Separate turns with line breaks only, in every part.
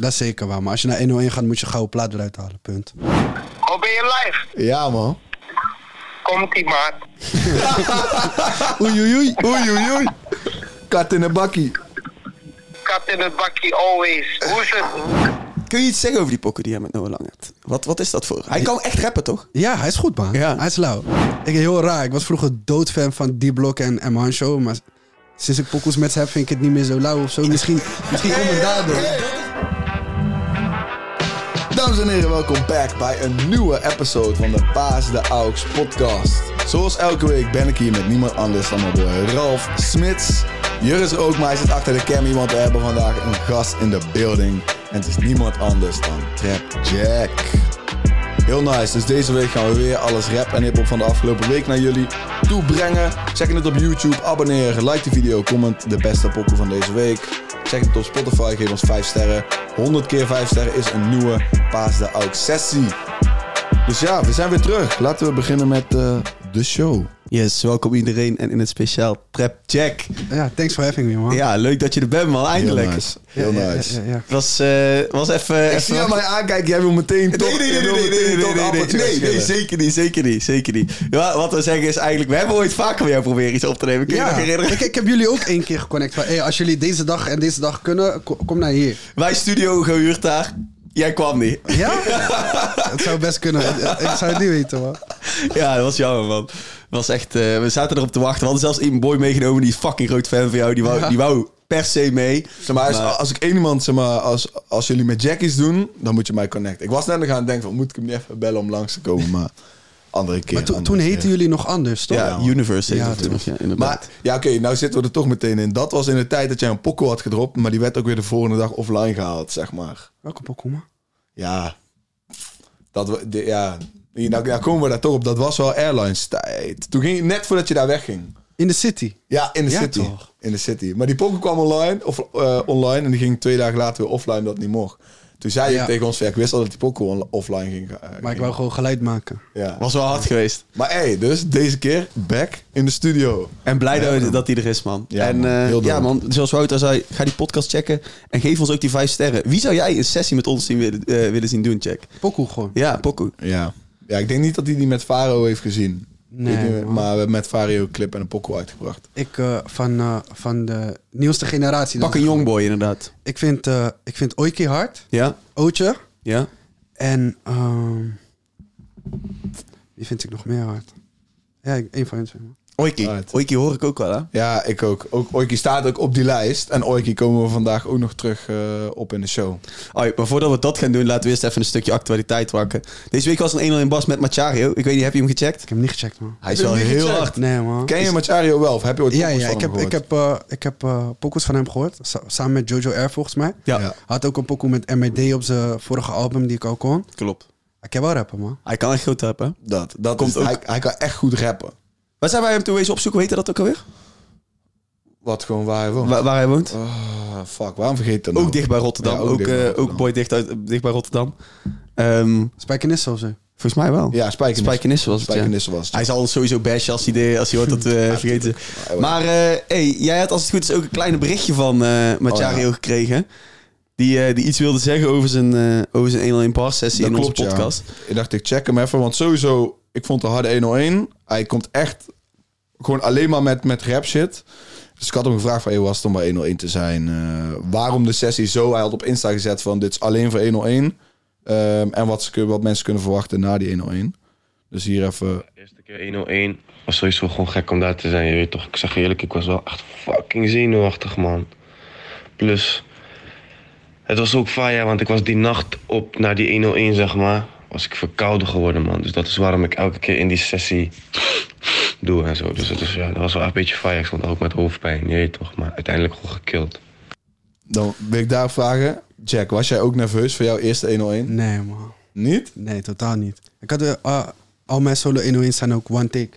Dat is zeker waar. Maar als je naar 101 gaat, moet je gouden plaat eruit halen. Punt.
Oh, ben je live?
Ja, man.
Komt ie, maat.
Oei, oei, oei. Oei, oei, oei. Kat in een bakkie.
Kat in het bakkie, always. Hoe is het?
Kun je iets zeggen over die pokken die hij met Noah Lang hebt? Wat, wat is dat voor? Hij kan echt rappen, toch?
Ja, hij is goed, man.
Ja.
Hij is lauw. Ik heel raar. Ik was vroeger doodfan van D-Block en M. Show. Maar sinds ik pokoes met ze heb, vind ik het niet meer zo lauw of zo. Misschien, misschien komt het daardoor.
Dames en heren, welkom back bij een nieuwe episode van de Paas de Aux podcast. Zoals elke week ben ik hier met niemand anders dan mijn boy Ralf Smits. Juris Rookmaai zit achter de cammy, want we hebben vandaag een gast in de building. En het is niemand anders dan Trap Jack. Heel nice. Dus deze week gaan we weer alles rap en hiphop van de afgelopen week naar jullie toebrengen. Check het op YouTube, abonneer, like de video, comment de beste pokoe van deze week. Check het op Spotify, geef ons 5 sterren. 100 keer 5 sterren is een nieuwe Paas de Oud sessie. Dus ja, we zijn weer terug. Laten we beginnen met eh, de show.
Yes, welkom iedereen en in het speciaal Trap Jack.
Ja, thanks for having me, man.
Ja, leuk dat je er bent, man.
Heel
Eindelijk.
nice. Heel
Ja, ja,
nice.
ja, ja, ja.
Het was, eh, was even...
Ik zie jou mij aankijken, jij wil meteen toch...
Nee, nee,
jij
nee, nee,
wil
nee,
meteen
nee,
tot
nee, nee, nee,
appeltjes
nee, nee,
schillen.
zeker niet, zeker niet, zeker niet. Ja, wat we zeggen is eigenlijk, we hebben ooit vaker bij jou proberen iets op te nemen. Kun je
Ja.
je nog herinneren?
Ik, ik heb jullie ook één keer geconnect van, hey, als jullie deze dag en deze dag kunnen, ko- kom naar hier.
Wij studio gehuurd daar, jij kwam niet.
Ja? Het zou best kunnen. Ik zou het niet weten, man.
Ja, dat was jammer, man. Was echt, eh, we zaten erop te wachten. We hadden zelfs een boy meegenomen, die is fucking groot fan van jou. Die wou, die wou per se mee.
Zeg maar, als,
Maar-
als ik één iemand, zeg maar, als, als jullie met Jack iets doen, dan moet je mij connecten. Ik was net nog aan het denken van, moet ik hem niet even bellen om langs te komen, maar andere keer.
Maar to-
andere
toen
keer.
heetten jullie nog anders, toch?
Ja, Universe heette
Ja,
het toen nog, ja, inderdaad.
Maar ja, oké, nou zitten we er toch meteen in. Dat was in de tijd dat jij een pokko had gedropt, maar die werd ook weer de volgende dag offline gehaald, zeg maar.
Welke pokoe, man?
Ja, dat we, de- ja. Hier, Nou, nou komen we daar toch op. Dat was wel airlines tijd. Toen ging je net voordat je daar wegging.
In de city.
Ja, in de
Ja,
city.
toch.
In de city. Maar die poker kwam online, of, eh, online en die ging twee dagen later weer offline omdat het niet mocht. Toen zei
Ja.
ik tegen ons, ja, ik wist al dat die poker on- offline ging. eh,
Maar ik
ging.
wou gewoon geluid maken.
Ja.
was wel hard geweest.
Maar hey, dus deze keer back in de studio.
En blij dat, we- dat hij er is, man.
Ja,
en
man.
eh,
Heel dope.
ja, man, zoals Wouter zei, ga die podcast checken. En geef ons ook die vijf sterren. Wie zou jij een sessie met ons zien willen, eh, willen zien doen, check?
Pokoe gewoon.
Ja, Poku.
Ja. Ja, ik denk niet dat hij die met Faro heeft gezien.
Nee,
Ik denk-
man.
maar we hebben met Faro een clip en een pokoe uitgebracht.
Ik, eh, van, eh, van de nieuwste generatie. Dus
Pak een jongboy, inderdaad.
Ik vind, eh ik vind Oiki hard.
Ja?
Ootje.
Ja?
En ehm wie vind ik nog meer hard? Ja, ik- één van hen twee. man.
Oiki.
Alright.
Oiki hoor ik ook wel, hè?
Ja, ik ook. ook Oiki staat ook op die lijst. En Oiki komen we vandaag ook nog terug eh, op in de show.
Alright, maar voordat we dat gaan doen, laten we eerst even een stukje actualiteit pakken. Deze week was een 1-0 in Bas met Machario. Ik weet niet, heb je hem gecheckt?
Ik heb hem niet gecheckt, man.
Hij is
Heb
wel
je hem niet
heel
gecheckt?
hard.
Nee, man.
Ken je Machario wel? Of heb je ooit
Ja,
pokoes
ja,
van
ik
hem
heb, ik
gehoord?
heb, eh, ik heb eh pokoes van hem gehoord. sa- samen met Jojo R, volgens mij.
Ja,
Ja.
Had ook een pokoe met MRD op zijn vorige album, die ik al kon.
klopt.
Ik heb wel rappen, man.
Hij kan echt goed rappen. hè?
Dat, dat
Komt
is,
ook.
Hij, hij kan echt goed rappen.
Waar zijn wij hem toen wezen opzoeken? Weet je dat ook alweer?
Wat gewoon waar hij woont.
Waar, waar hij woont?
Ah, fuck, waarom vergeet ik dat nou?
Ook dicht bij Rotterdam.
Ja,
ook,
dicht bij
eh,
Rotterdam.
ook boy dicht, uit, dicht bij Rotterdam. Ehm,
Spijkenisse of zo.
volgens mij wel.
Ja, Spijkenisse.
Spijkenisse was het, ja.
Spijkenisse was het, ja.
Hij zal ons sowieso bashen als hij, de- als hij hoort dat we eh, vergeten.
Ja,
Maar eh, hey, jij had als het goed is ook een klein berichtje van eh Machario
Oh, ja.
gekregen. Die, eh, die iets wilde zeggen over zijn, eh, over zijn 101 bar sessie in onze
ja.
podcast.
Ik dacht, ik check hem even. Want sowieso, ik vond de harde 101. Hij komt echt gewoon alleen maar met, met rap shit. Dus ik had hem gevraagd van, hey, was het om bij 101 te zijn? Eh, waarom de sessie zo? Hij had op Insta gezet van, dit is alleen voor 101. Ehm, en wat, ze, kun- wat mensen kunnen verwachten na die 101. Dus hier even...
Eerste keer 101 was sowieso gewoon gek om daar te zijn. Je weet toch, ik zeg je eerlijk, ik was wel echt fucking zenuwachtig, man. Plus, het was ook fire, want ik was die nacht op naar die 101, zeg maar. Was ik verkouden geworden, man. Dus dat is waarom ik elke keer in die sessie doe en zo. Dus het is, ja, dat was wel echt een beetje fire. Ik stond ook met hoofdpijn, je weet toch. Maar uiteindelijk gewoon gekild.
Dan wil ik daar vragen. Jack, was jij ook nerveus voor jouw eerste 101?
Nee, man.
Niet?
Nee, totaal niet. Ik had, eh, ah, al mijn solo 101's zijn ook one take.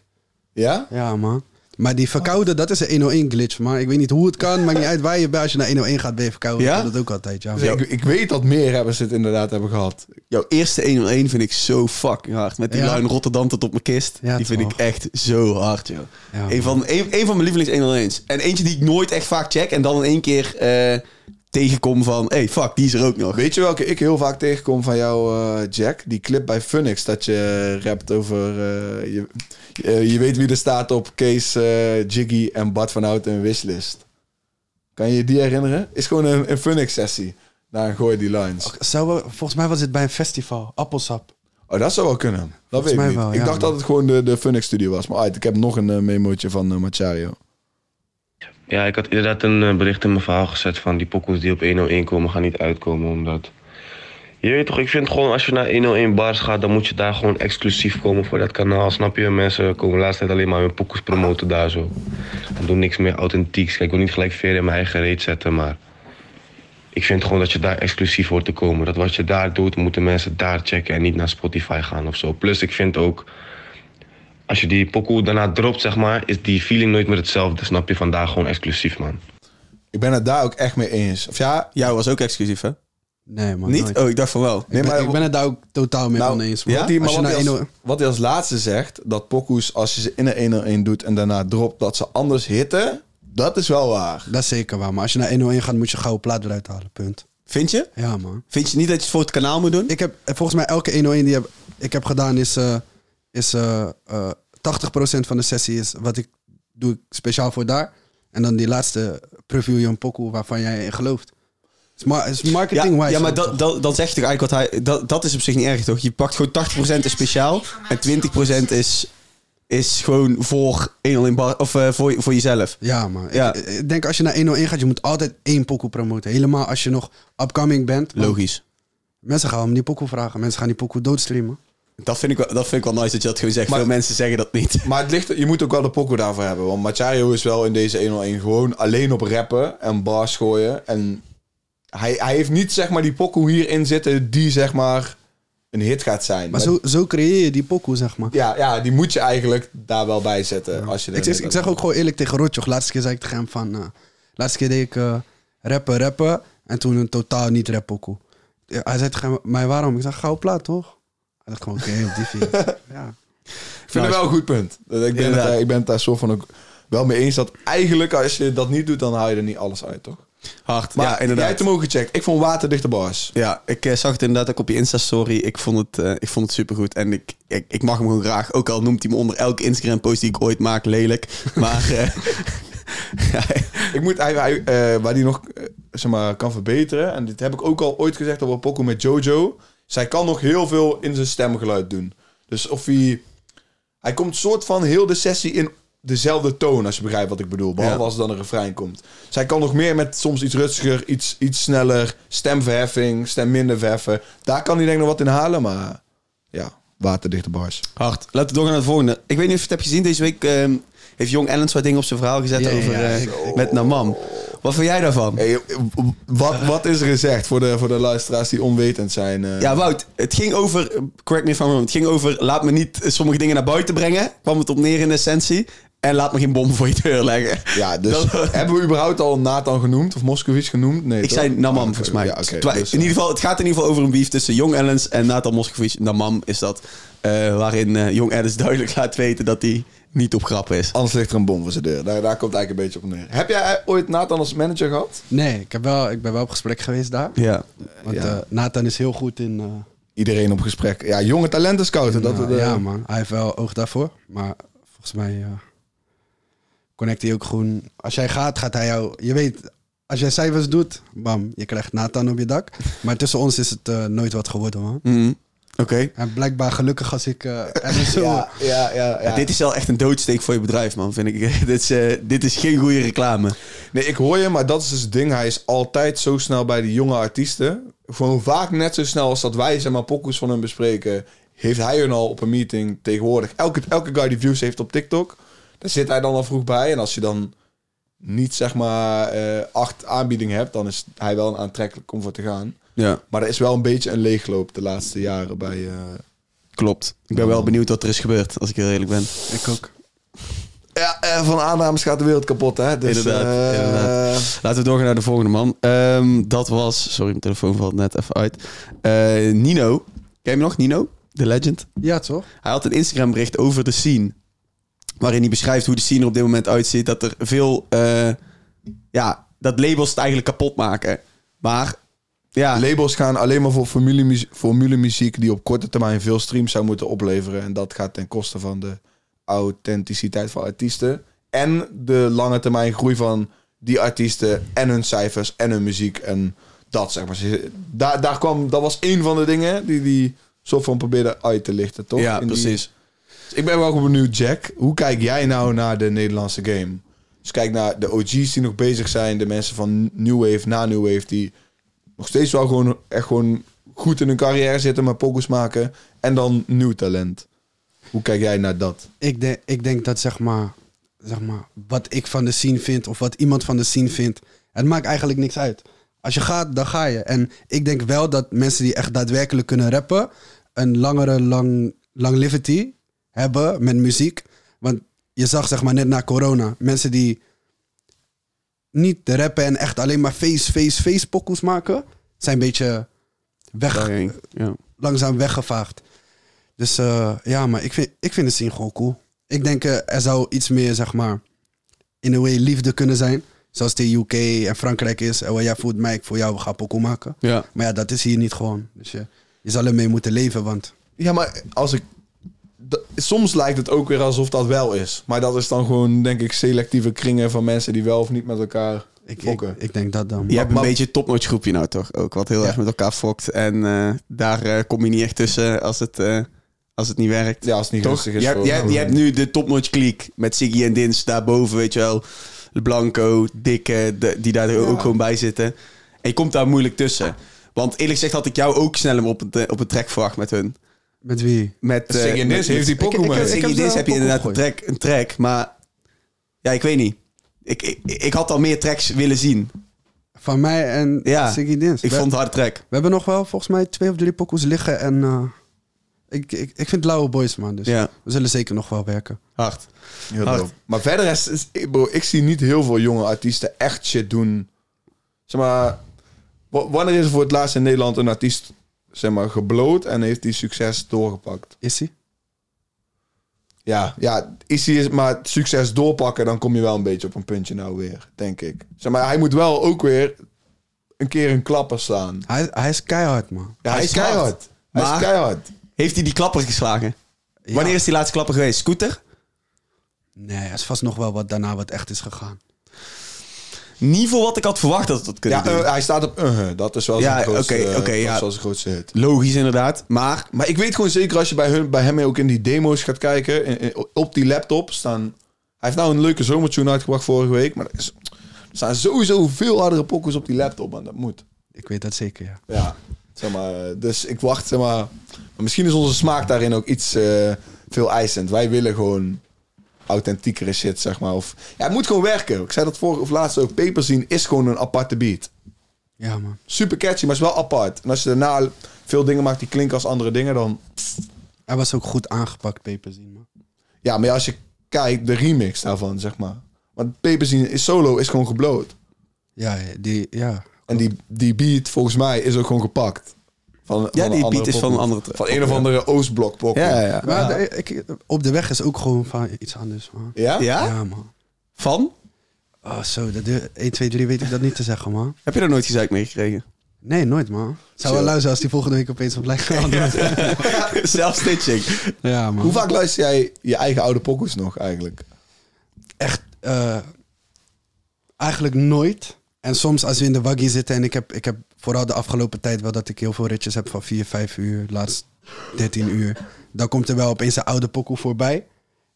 Ja?
Ja, man. Maar die verkouden, dat is een 101 glitch, man. Ik weet niet hoe het kan, maakt niet uit waar je bent. Als je naar 101 gaat, ben je verkouden.
Ja?
Ik had dat ook altijd, ja.
Dus ik, ik weet dat meer hebben ze het inderdaad hebben gehad.
Jouw eerste 101 vind ik zo fucking hard. Met die
Ja.
lijn Rotterdam tot op mijn kist.
Ja,
die vind
toch.
ik echt zo hard, joh.
Ja,
een, van, een, een van mijn lievelings 101's. En eentje die ik nooit echt vaak check. En dan in één keer eh, tegenkom van... hey, fuck, die is er ook nog.
Weet je welke ik heel vaak tegenkom van jou, eh, Jack? Die clip bij Funix dat je rapt over... eh, je, eh, je weet wie er staat op Kees, eh, Jiggy en Bart van Houten en Wishlist. Kan je je die herinneren? Is gewoon een, een Funix-sessie. Naar Gooi die Lines.
Zou wel- volgens mij was het bij een festival, appelsap.
Oh, dat zou wel kunnen. Dat weet ik
mij
niet.
wel,
ik
ja,
dacht
man.
dat het gewoon de, de Funix Studio was. Maar alright, ik heb nog een eh, memootje van eh, Machario.
Ja, ik had inderdaad een eh, bericht in mijn verhaal gezet van die pokkels die op 101 komen gaan niet uitkomen. Omdat. Je weet toch, ik vind gewoon als je naar 101 bars gaat, dan moet je daar gewoon exclusief komen voor dat kanaal. Snap je? Mensen komen de laatste tijd alleen maar hun pokkels promoten daar zo. En doen niks meer authentieks. Kijk, ik wil niet gelijk veer in mijn eigen reet zetten, maar. Ik vind gewoon dat je daar exclusief hoort te komen. Dat wat je daar doet, moeten mensen daar checken en niet naar Spotify gaan of zo. Plus, ik vind ook als je die pokoe daarna dropt, zeg maar, is die feeling nooit meer hetzelfde. Snap je? Vandaar gewoon exclusief, man.
Ik ben het daar ook echt mee eens. Of ja,
Jou was ook exclusief, hè?
Nee, man. nooit.
Niet? Oh, ik dacht van wel.
ik, ben,
maar-
ik ben het daar ook totaal mee
nou,
oneens. man.
wat, die, maar
als je
wat,
naar
hij als,
101
wat hij als laatste zegt, dat pokoes als je ze in een 101 doet en daarna dropt, dat ze anders hitten, dat is wel waar.
Dat is zeker waar. Maar als je naar 101 gaat, moet je gouden plaat eruit halen. Punt.
Vind je?
Ja, man.
Vind je niet dat je het voor het kanaal moet doen?
Ik heb eh, volgens mij elke 101 die heb, ik heb gedaan is... eh, is eh, eh, 80% van de sessie is wat ik doe ik speciaal voor daar. En dan die laatste preview je een pokoe waarvan jij in gelooft. Is ma- is
Ja,
marketing
ja, maar dat, dat, dat zegt toch eigenlijk wat hij... Dat, dat is op zich niet erg, toch? Je pakt gewoon 80% is speciaal en 20% is, is gewoon voor 101 bar, of eh, voor, voor jezelf.
Ja, man. Ik- eh,
Ja.
Ik, denk als je naar 101 gaat, je moet altijd één pokoe promoten. Helemaal als je nog upcoming bent. Want
Logisch.
Mensen gaan om die pokoe vragen. Mensen gaan die pokoe doodstreamen.
Dat vind, ik wel, dat vind ik wel nice dat je dat gewoon zegt.
Maar-
Veel mensen zeggen dat niet.
Maar het ligt, je moet ook wel de pokoe daarvoor hebben. Want Machario is wel in deze 101 gewoon alleen op rappen en bars gooien. En hij, hij heeft niet zeg maar die pokoe hierin zitten die zeg maar een hit gaat zijn.
Maar zo, zo creëer je die pokoe, zeg maar.
Ja, ja, die moet je eigenlijk daar wel bij zetten. Als je er
Ik, zeg,
net
ik
aan
zeg ook gewoon eerlijk tegen Rotjoch. Laatste keer zei ik tegen hem van... eh, laatste keer deed ik eh, rappen, rappen. En toen een totaal niet rap pokoe. Ja, hij zei tegen mij, waarom? Ik zei, gauw plaat, toch? Hij dacht gewoon, oké, op die vier. ja.
Ik vind het wel een goed punt. Dat- Ik ben, het,
Inderdaad.
daar- ik ben het daar zo van ook wel mee eens dat eigenlijk als je dat niet doet, dan haal je er niet alles uit, toch?
Hard.
Maar
ja, inderdaad.
jij hebt hem ook gecheckt. Ik vond waterdichte bars.
Ja, ik eh, zag het inderdaad ook op je Insta-story. Ik vond het, eh, ik vond het supergoed. En ik, ik, ik mag hem gewoon graag. Ook al noemt hij me onder elke Instagram-post die ik ooit maak lelijk. Maar eh, ja,
Ik moet hij- hij, eh, waar die nog eh, zeg maar, kan verbeteren. En dit heb ik ook al ooit gezegd op een pokoe met Jojo. Zij kan nog heel veel in zijn stemgeluid doen. Dus of hij... Hij komt soort van heel de sessie in dezelfde toon, als je begrijpt wat ik bedoel. Behalve
Ja.
als er dan een refrein komt. Zij kan nog meer met soms iets rustiger, iets, iets sneller. Stemverheffing, stem minder verheffen. Daar kan hij denk ik nog wat in halen, maar... Ja, waterdichte bars.
hard. Laten we doorgaan naar het volgende. Ik weet niet of je het hebt gezien. Deze week eh, heeft Jong Ellen wat dingen op zijn verhaal gezet
Ja,
over
ja,
eh,
ik-
met Namam. Wat vind jij daarvan?
Hey, wat, wat is er gezegd voor de, voor de luisteraars die onwetend zijn? eh?
Ja, Wout, het ging over, correct me if I'm wrong, het ging over laat me niet eh, sommige dingen naar buiten brengen. Kwam het op neer in essentie. En laat me geen bom voor je deur leggen.
Ja, dus
Dat-
hebben we überhaupt al Nathan genoemd of Moscovici genoemd? Nee,
Ik
toch?
zei Namam,
Ah,
volgens mij.
Ja, oké.
Twa-
dus,
in ieder geval, het gaat in ieder geval over een beef tussen Jong Ellens en Nathan Moskovic. Namam is dat. eh, waarin eh, Jong Ellens duidelijk laat weten dat hij niet op grap is.
eh, anders ligt er een bom voor zijn deur. Daar, daar komt het eigenlijk een beetje op neer. Oh, Heb jij eh, ooit Nathan als manager gehad?
Nee, ik, heb wel, ik ben wel op gesprek geweest daar.
Ja.
Want
Ja.
eh, Nathan is heel goed in... eh,
Iedereen op gesprek. Ja, jonge talenten scouten. Dat,
Nou,
eh,
ja, man. Hij heeft wel oog daarvoor. Maar volgens mij eh, connect hij ook gewoon. Als jij gaat, gaat hij jou. Je weet, als jij cijfers doet, bam, je krijgt Nathan op je dak. Maar tussen ons is het eh, nooit wat geworden, man.
Mm.
Mhm. Oké.
En blijkbaar gelukkig als ik. eh, en zo.
ja, ja, ja, ja.
Dit is wel echt een doodsteek voor je bedrijf, man, vind ik. dit, is, eh, dit is geen goede reclame.
Nee, ik hoor je, maar dat is dus het ding. Hij is altijd zo snel bij die jonge artiesten. Gewoon vaak net zo snel als dat wij zeg maar pokoes van hem bespreken. Heeft hij hun al op een meeting tegenwoordig. Elke, elke guy die views heeft op TikTok, daar zit hij dan al vroeg bij. En als je dan niet zeg maar eh, acht aanbiedingen hebt, dan is hij wel een aantrekkelijk om voor te gaan.
Ja,
Maar er is wel een beetje een leegloop de laatste jaren bij... eh,
klopt. Ik ben wel benieuwd wat er is gebeurd, als ik heel eerlijk ben.
Ik ook.
Ja, eh, van aannames gaat de wereld kapot, hè? Dus,
Inderdaad,
eh,
inderdaad. Laten we doorgaan naar de volgende man. Ehm, dat was, sorry, mijn telefoon valt net even uit. Eh, Nino. Ken je hem nog? Nino? The Legend?
Ja, toch?
Hij had een Instagram bericht over de scene. Waarin hij beschrijft hoe de scene er op dit moment uitziet. Dat er veel... eh, ja, dat labels het eigenlijk kapot maken. Maar ja,
Labels gaan alleen maar voor formule, formulemuziek die op korte termijn veel streams zou moeten opleveren. En dat gaat ten koste van de authenticiteit van artiesten. En de lange termijn groei van die artiesten en hun cijfers en hun muziek. En dat zeg maar. Ze- Daar, daar kwam, dat was één van de dingen die die soort van probeerde uit te lichten, toch?
ja
In die-
precies.
Dus ik ben wel benieuwd, Jack. Hoe kijk jij nou naar de Nederlandse game? Dus kijk naar de OG's die nog bezig zijn. De mensen van New Wave, na New Wave. Die nog steeds wel gewoon, echt gewoon goed in hun carrière zitten. Maar pokus maken. En dan nieuw talent. Hoe kijk jij naar dat?
ik, denk, ik denk dat zeg maar, zeg maar, wat ik van de scene vind of wat iemand van de scene vindt, het maakt eigenlijk niks uit. Als je gaat, dan ga je. En ik denk wel dat mensen die echt daadwerkelijk kunnen rappen, een langere lang, longevity hebben met muziek. Want je zag zeg maar net na corona, mensen die niet rappen en echt alleen maar face, face, face pokoes maken, zijn een beetje weg,
Daarheen, Ja.
langzaam weggevaagd. Dus eh, ja, maar ik vind, ik vind de scene gewoon cool. Ik denk eh, er zou iets meer, zeg maar, in een way liefde kunnen zijn. Zoals de UK en Frankrijk is. En wat jij voelt mij, ik voor jou, we gaan pokoe maken.
Ja.
Maar ja, dat is hier niet gewoon. Dus je, je zal ermee moeten leven, want...
Ja, maar als ik... dat- soms lijkt het ook weer alsof dat wel is. Maar dat is dan gewoon, denk ik, selectieve kringen van mensen die wel of niet met elkaar
Ik, ik,
fokken.
ik denk dat dan.
Je hebt een
maar-
beetje een topnotch groepje nou toch ook, wat heel erg met elkaar fokt. En eh, daar eh, kom je niet echt tussen als het, eh, als het niet werkt.
ja, als het niet
Toch?
rustig is.
Je, hebt-
voor-
je, hebt- je hebt nu de topnotch kliek met Siggy en Dins daarboven, weet je wel. Blanco, Dikke, de- die daar ook gewoon bij zitten. En je komt daar moeilijk tussen. Want eerlijk gezegd had ik jou ook sneller op het, eh, op het track verwacht met hun.
Met wie?
Met, eh,
Siggy en
met-
Dins heeft die
met-
pokoe,
Ik-
man.
ik- ik-
Ik
Siggy
heb
en
ze
Dins heb je
wel
inderdaad een
pokoe
track, een track, maar... Ja, ik weet niet. Ik, ik, ik had al meer tracks willen zien.
Van mij en
Ja,
Ziggy Dins.
Ik
we,
vond het harde track.
we hebben nog wel volgens mij twee of drie pokoes liggen. En eh, ik, ik, ik vind lauwe boys, man. Dus
Ja.
we zullen zeker nog wel werken.
Hard.
Heel
Hard.
dope. Maar verder is, is- ik- bro, ik zie niet heel veel jonge artiesten echt shit doen. Zeg maar, wa- wanneer is er voor het laatst in Nederland een artiest zeg maar, gebloot en heeft die succes doorgepakt?
Is hij?
Ja, ja is hij is- maar succes doorpakken, dan kom je wel een beetje op een puntje nou weer, denk ik. Zeg maar, hij moet wel ook weer een keer een klapper slaan.
Hij, hij is keihard, man.
Ja, hij,
Hij
is
is hard.
keihard. Hij
Maar-
is keihard.
Heeft hij die klapper geslagen?
Ja.
Wanneer is die laatste klapper geweest? Scooter?
Nee, er is vast nog wel wat daarna wat echt is gegaan.
Niet voor wat ik had verwacht dat het had kunnen
Ja,
doen.
eh, hij staat op uh dat is wel
Ja,
zijn grootste,
oké,
eh,
oké,
dat is
ja.
wel zijn grootste hit.
Logisch inderdaad, maar...
Maar ik weet gewoon zeker als je bij, hun, bij hem ook in die demo's gaat kijken, in- in- op die laptop staan. Hij heeft nou een leuke zomertune uitgebracht vorige week, maar er, is- er staan sowieso veel hardere pokkers op die laptop, en dat moet.
Ik weet dat zeker, ja.
Ja, zeg maar. eh, Dus ik wacht, zeg maar. maar misschien is onze smaak daarin ook iets eh, veel eisend. Wij willen gewoon authentiekere shit, zeg maar. Of, ja, het moet gewoon werken. Ik zei dat vorige of laatst ook. Paper zien is gewoon een aparte beat.
Ja, man.
Super catchy, maar is wel apart. En als je daarna veel dingen maakt die klinken als andere dingen, dan
Hij was ook goed aangepakt, Peperzien, man.
Ja, maar ja, als je kijkt, de remix daarvan, zeg maar. Want Peperzien is solo is gewoon gebloot.
Ja, die, ja.
En die, die beat, volgens mij, is ook gewoon gepakt. Van,
Ja,
van
die
andere
beat is van een
pokoe.
andere-
Van een of andere Oostblok pokoe.
Ja, ja.
Maar de- ik, op de weg is ook gewoon van iets anders, man.
Ja?
Ja?
Ja, man.
Van?
Oh, zo. Dat, duurt- 1, 2, 3 weet ik dat niet te zeggen, man.
Heb je daar nooit gezeik mee gekregen?
Nee, nooit, man. Zou wel luisteren als die volgende week opeens op lijkt veranderd. Ja.
Self-stitching.
ja, man.
Hoe vaak luister jij je eigen oude pokoes nog, eigenlijk?
echt eh, eigenlijk nooit. En soms als we in de waggie zitten en ik heb, ik heb vooral de afgelopen tijd wel dat ik heel veel ritjes heb van 4, 5 uur, laatst 13 uur. Dan komt er wel opeens een oude pokoe voorbij.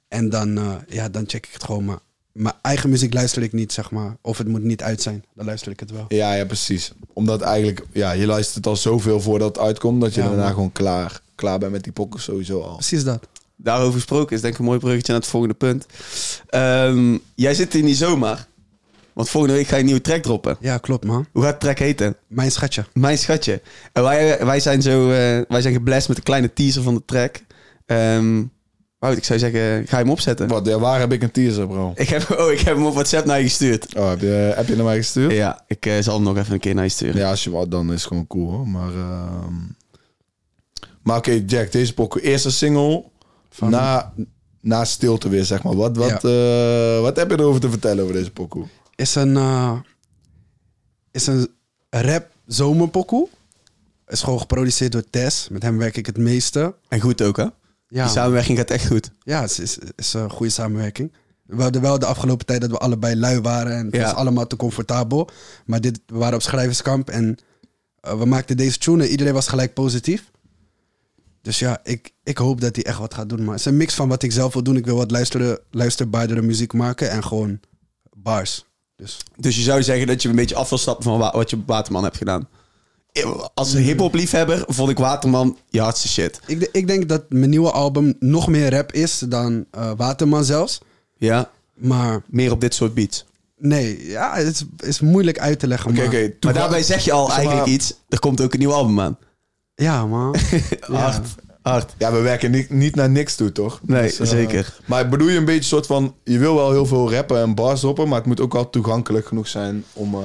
En dan, eh, ja, dan check ik het gewoon. Maar mijn eigen muziek luister ik niet, zeg maar. Of het moet niet uit zijn, dan luister ik het wel.
Ja, ja, precies. Omdat eigenlijk, ja, je luistert al zoveel voordat het uitkomt... dat je
Ja,
daarna
man.
gewoon klaar, klaar bent met die pokoes sowieso al.
Precies dat.
Daarover gesproken is denk ik een mooi bruggetje naar het volgende punt. Ehm, jij zit hier niet zomaar. Want volgende week ga je een nieuwe track droppen.
Ja, klopt man.
Hoe gaat de track heten?
Mijn schatje.
Mijn schatje. En wij, wij zijn zo, eh, wij zijn geblest met een kleine teaser van de track. Ehm Wout, ik zou zeggen, ga je hem opzetten?
Wat, ja, waar heb ik een teaser, bro?
Ik heb, oh, ik heb hem op WhatsApp naar je gestuurd.
Oh, heb, je, heb je naar mij gestuurd?
Ja, ik eh, zal hem nog even een keer naar je sturen.
Ja, als je wat, dan is het gewoon cool hoor. Maar, ehm, maar oké, Jack, deze pokoe. Eerste single
Van-
na, na stilte weer, zeg maar. Wat, wat, eh, wat heb je erover te vertellen over deze pokoe?
is een, eh, is een rap zomerpokoe. Is gewoon geproduceerd door Tess. Met hem werk ik het meeste.
En goed ook, hè?
Ja,
Die samenwerking gaat echt goed.
ja het is, is een goede samenwerking. We hadden wel de afgelopen tijd dat we allebei lui waren. En het
Ja.
was allemaal te comfortabel. Maar dit, we waren op schrijverskamp. En eh, we maakten deze tune. en Iedereen was gelijk positief. Dus ja, ik, ik hoop dat hij echt wat gaat doen. Maar het is een mix van wat ik zelf wil doen. Ik wil wat luisteren, luisterbaardere muziek maken. En gewoon bars. Dus
Dus je zou zeggen dat je een beetje af wil stappen van wa- wat je op Waterman hebt gedaan. Eh, Als hip-hop liefhebber vond ik Waterman je hardste shit.
Ik, de- ik denk dat mijn nieuwe album nog meer rap is dan eh, Waterman zelfs.
Ja,
Maar
meer op dit soort beats.
nee, ja, het is, is moeilijk uit te leggen.
Oké,
maar,
oké. Maar daarbij zeg je al eigenlijk iets. Er komt ook een nieuw album aan.
Ja, man.
Hard, hard.
Ja, we werken niet, niet naar niks toe, toch?
Nee,
eh,
zeker.
Maar bedoel je een beetje soort van... Je wil wel heel veel rappen en bars droppen... maar het moet ook wel toegankelijk genoeg zijn om... eh,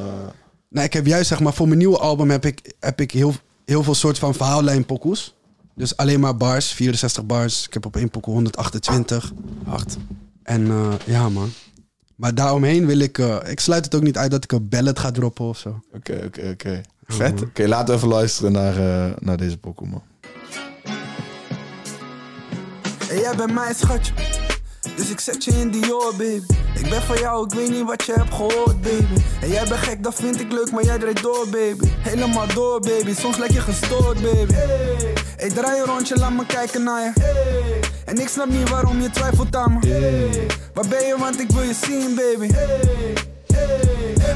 nou, ik heb juist, zeg maar, voor mijn nieuwe album heb ik, heb ik heel, heel veel soort van verhaallijnpokoes. Dus alleen maar bars, 64 bars. Ik heb op één pokoe 128.
Hard.
En eh, ja, man. Maar daaromheen wil ik... eh, ik sluit het ook niet uit dat ik een ballet ga droppen of zo.
Oké, oké, oké. Vet.
Mhm.
Oké, laten we even luisteren naar, eh, naar deze pokoe, man.
En jij bent mijn schatje, dus ik zet je in Dior, baby. Ik ben van jou, ik weet niet wat je hebt gehoord, baby. En jij bent gek, dat vind ik leuk, maar jij draait door, baby. Helemaal door, baby, soms lijk je gestoord, baby. Hey. Ik draai een rondje, laat me kijken naar je. En ik snap niet waarom je twijfelt aan me. Waar ben je, want ik wil je zien, baby.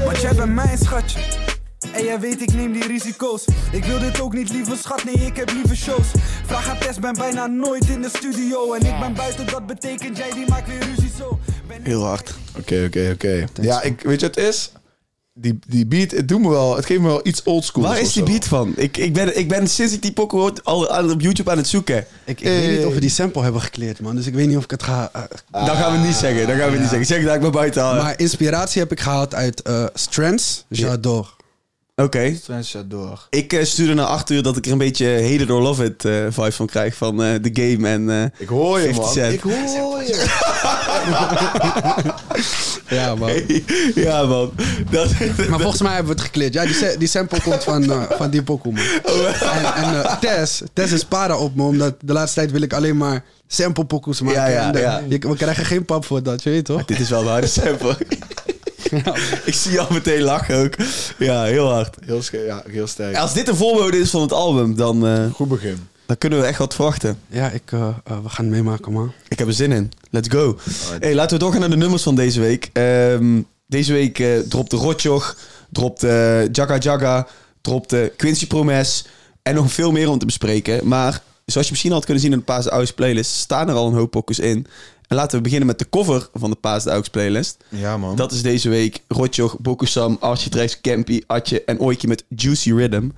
Want jij bent mijn schatje. En jij weet, ik neem die risico's. Ik wil dit ook niet, lieve schat, nee, ik heb lieve shows. Vraag aan Tess, ben bijna nooit in de studio. Oh, En ik ben buiten, dat betekent jij, die maakt weer ruzie zo. Ben
Heel hard.
Oké, oké, oké. Ja, ik, weet je wat het is? Die, die beat, het, doet me wel, het geeft me wel iets oldschool.
Waar is die beat van? Ik, ik, ben, ik ben sinds ik die pokken hoor al aan, op YouTube aan het zoeken.
Ik, ik weet niet of we die sample hebben gekleerd, man. Dus ik weet niet of ik het ga... eh,
Dan gaan we het niet zeggen. Dan gaan we het niet zeggen. Zeg dat ik me buiten haal. Oké.
Maar inspiratie heb ik gehaald uit eh Strands, J'adore.
door.
Ik eh, stuurde naar acht uur dat ik er een beetje Heden door Love It eh, vibe van krijg. Van eh, The Game en eh,
Ik hoor je,
50
man.
Cent.
Ik hoor je.
Ja, man.
ja, man. Dat,
Oh. Maar volgens mij hebben we het gekleerd. Ja, die, sa- die sample komt van, eh, van die pokoe, man. En, en eh, Tess, Tess is para op me, omdat de laatste tijd wil ik alleen maar sample pokoes maken.
Ja, ja,
En de-
ja.
je- we krijgen geen pap voor dat, je weet toch?
dit is wel de harde sample. ik zie je al meteen lachen ook. Ja, heel hard.
Heel, sch- ja, heel sterk.
Als dit een voorbode is van het album, dan, eh,
Goed begin.
dan kunnen we echt wat verwachten.
Ja, ik, eh, eh, we gaan het meemaken, man.
Ik heb er zin in. Let's go. Hey, laten we doorgaan naar de nummers van deze week. Ehm, deze week eh, dropte Rotjoch, dropte eh, Jagga Jagga, dropte Quincy Promes en nog veel meer om te bespreken. Maar zoals je misschien had kunnen zien in de Paas de Ouds playlist, staan er al een hoop pokus in. En laten we beginnen met de cover van de Paas de Ouds playlist.
Ja, man.
Dat is deze week Rotjoch, Bokusam, Architrex, Campy, Atje en Oikje met Juicy Rhythm.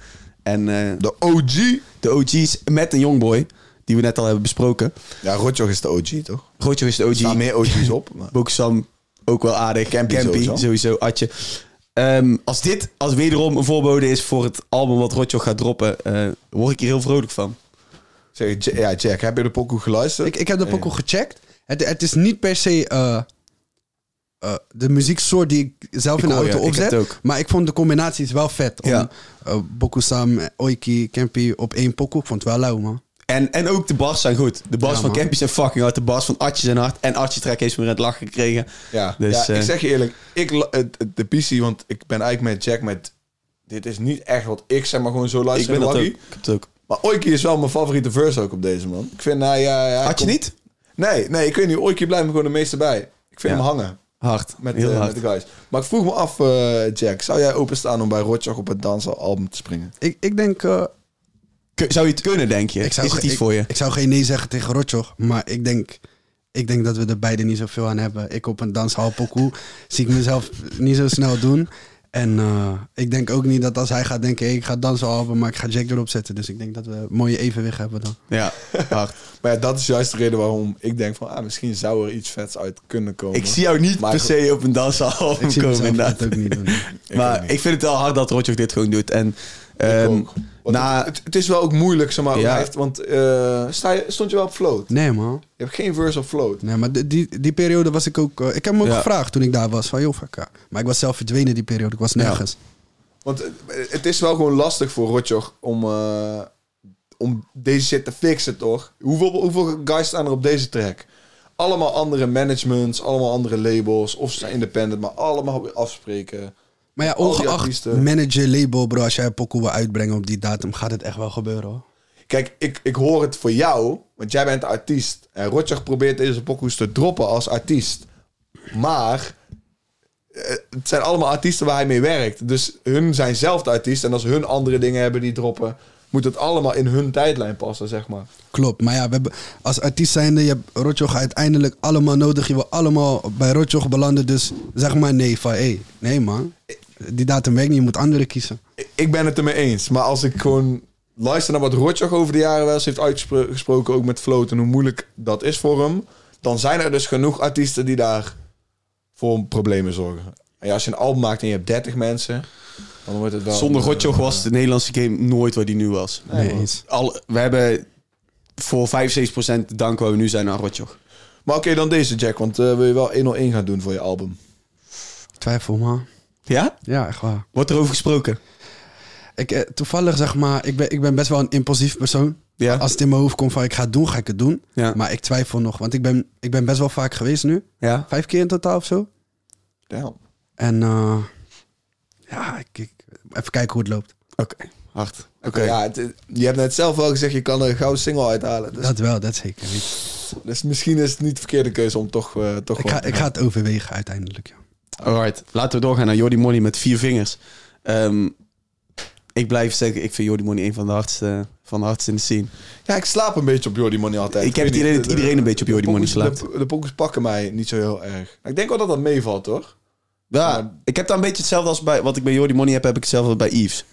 En eh,
De OG.
de OG's met een Youngboy, die we net al hebben besproken.
Ja, Rotjoch is de OG, toch?
Rotjoch is de
Er staan
OG.
meer OG's op. maar-
Boksam ook wel aardig.
Campy
Campy
sowieso.
sowieso, Atje. Ehm, als dit als wederom een voorbode is voor het album wat Rotjoch gaat droppen, eh, word ik hier heel vrolijk van.
Zeg, J- ja, Jack, heb je de pokoe geluisterd?
Ik, ik heb de pokoe gecheckt. Het, het is niet per se eh, eh, de muzieksoort die ik zelf in de
hoor
auto
je, ik
opzet.
heb het ook.
Maar ik vond de combinaties wel vet. Om,
Ja.
eh, Bokusam, Oiki, Campy op één pokoe. Ik vond het wel lauw, man.
En, en ook de bars zijn goed. De bars
Ja,
van
man.
Campy zijn fucking hard. De bars van Atje zijn hard. En Atje Trek heeft me in het lachen gekregen.
Ja,
Dus,
ja
eh,
ik zeg je eerlijk, ik, la- het- het- de PC, want ik ben eigenlijk met Jack met... Dit is niet echt wat ik zeg, maar gewoon zo
ik
luister
ben
in de
dat ook.
waggie.
Ik heb het ook.
Maar Oiki is wel mijn favoriete verse ook op deze, man. Ik vind, nou ja... ja
Had je
kom-
niet?
Nee, nee, ik weet niet. Oiki blijft me gewoon de meeste bij. Ik vind
Ja.
hem hangen
Hard.
met,
heel
eh,
hard.
met de guys. Maar ik vroeg me af, eh, Jack. Zou jij openstaan om bij Rotjoch op het dansalbum te springen?
Ik, ik denk... eh,
Kun- Zou je het kunnen, denk je?
Ik zou
is het
ge-
iets
ik-
voor je?
Ik zou geen nee zeggen tegen Rotjoch, maar ik denk, ik denk dat we er beide niet zoveel aan hebben. Ik op een danshalpokoe zie ik mezelf niet zo snel doen. En eh, ik denk ook niet dat als hij gaat denken, hey, ik ga dansalpen, maar ik ga Jack erop zetten. Dus ik denk dat we een mooie evenwicht hebben dan.
Ja, hard.
Maar ja, dat is juist de reden waarom ik denk van... Ah, misschien zou er iets vets uit kunnen komen.
Ik zie jou niet
Maar
per
goed.
se op een dansalbum
Ik zie
komen.
mezelf
inderdaad.
dat ook niet doen.
maar
ook niet.
ik vind het wel hard dat Rotjoch dit gewoon doet. En ehm,
ook. Want
na-
het, het is wel ook moeilijk, zeg maar.
Ja.
hij heeft- want eh, sta je, stond je wel op float?
Nee man.
Je hebt geen verse op float.
Nee, maar die- die, die periode was ik ook... eh, ik heb hem ook
Ja.
gevraagd toen ik daar was, van joh, Vakka. Maar ik was zelf verdwenen die periode, ik was nergens.
Want eh, het is wel gewoon lastig voor Roger om, eh, om deze shit te fixen, toch? Hoeveel, hoeveel guys staan er op deze track? Allemaal andere managements, allemaal andere labels. Of ze zijn independent, maar allemaal weer afspreken.
Maar ja,
Al die
ongeacht
artiesten.
manager, label, bro. Als jij een pokoe wil uitbrengen op die datum, gaat het echt wel gebeuren, hoor.
Kijk, ik, ik hoor het voor jou, want jij bent de artiest. En Roger probeert deze pokoes te droppen als artiest. Maar eh, het zijn allemaal artiesten waar hij mee werkt. Dus hun zijn zelf de artiest. En als hun andere dingen hebben die droppen, moet het allemaal in hun tijdlijn passen, zeg maar.
Klopt, maar ja, we hebben, als artiest zijnde, je hebt Rotjoch uiteindelijk allemaal nodig. Je wil allemaal bij Rotjoch belanden, dus zeg maar nee van, hé, nee man. Die datum werkt niet, je moet anderen kiezen.
Ik- Ik ben het ermee eens. Maar als ik gewoon luister naar wat Rotjoch over de jaren wel eens heeft uitgesproken, ook met float en hoe moeilijk dat is voor hem, dan zijn er dus genoeg artiesten die daar voor problemen zorgen. En ja, als je een album maakt en je hebt 30 mensen, dan wordt het wel...
Zonder Rotjoch was de Nederlandse game nooit waar die nu was.
Nee, eens.
Al, we hebben voor 75% dank waar we nu zijn aan Rotjoch.
Maar oké, dan deze Jack, want eh, wil je wel 101 gaan doen voor je album?
Twijfel, man.
Ja?
Ja, echt waar.
Wordt erover gesproken?
Ik, eh, toevallig zeg maar, ik ben, ik ben best wel een impulsief persoon.
Ja.
Als het in mijn hoofd komt van ik ga het doen, ga ik het doen.
Ja.
Maar ik twijfel nog, want ik ben, ik ben best wel vaak geweest nu.
Ja.
Vijf keer in totaal of zo.
Damn.
En eh, ja, ik, ik- even kijken hoe het loopt.
Oké, hard. Oké.
Ja, het- je hebt net zelf wel gezegd, je kan er een gouden single uithalen. Dus,
Dat wel, dat zeker. niet.
dus misschien is het niet de verkeerde keuze om toch... eh toch
Ik
wel-
ga, ik ga het overwegen uiteindelijk, ja.
Alright, laten we doorgaan naar Jordi Money met vier vingers. Ehm, ik blijf zeggen, ik vind Jordi Money een van de hardste, van de hardste in de scene.
Ja, ik slaap een beetje op Jordi Money altijd.
Ik heb
weet
het idee
niet,
dat
de-
iedereen een beetje op Jordi
de
Money
pokus-
slaapt.
De, de pokus pakken mij niet zo heel erg. Ik denk wel dat dat meevalt, toch?
Ja, ik heb daar een beetje hetzelfde als bij wat ik bij Jordi Money heb, heb ik hetzelfde bij Yves.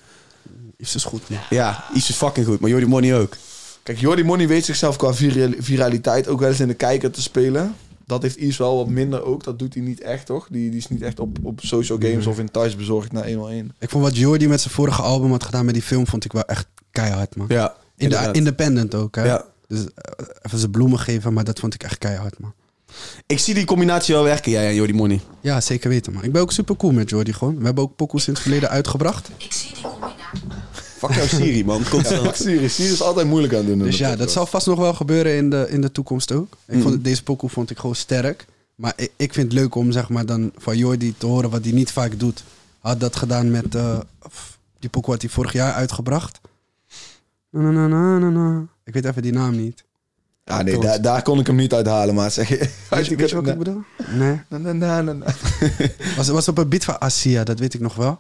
Is dus goed, man.
Ja, Yves is fucking goed, maar Jordi Money ook.
Kijk, Jordi Money weet zichzelf qua vira- viraliteit ook wel eens in de kijker te spelen. Dat heeft Yves wel wat minder ook. Dat doet hij niet echt, toch? Die, die is niet echt op, op social games of in thuis bezorgd naar 101.
Ik vond wat Jordi met zijn vorige album had gedaan met die film, vond ik wel echt keihard, man.
Ja,
In de, independent ook, hè.
Ja.
Dus eh, even zijn bloemen geven, maar dat vond ik echt keihard, man.
Ik zie die combinatie wel werken, jij en Jordi Money.
Ja, zeker weten, man. Ik ben ook super cool met Jordi gewoon. We hebben ook pokoes in het verleden uitgebracht.
Fuck jou Siri, man. Constant.
Fuck Siri. Siri is altijd moeilijk aan het doen. in
Dus
de
ja, dat
podcast.
zal vast nog wel Mm. gebeuren in de, in de toekomst ook. Ik vond, deze pokoe vond ik gewoon sterk. Maar ik, ik vind het leuk om zeg maar, dan van Jordi te horen wat hij niet vaak doet. Had dat gedaan met eh, f- die pokoe had hij vorig jaar uitgebracht. Na, na, na, na, na, na. Ik weet even die naam niet.
Ja, nee, daar, daar kon ik hem niet uithalen, maar zeg je...
Weet je, weet je wat ik bedoel? Nee.
Na, na, na, na, na.
Was, was op een beat van Asia, dat weet ik nog wel.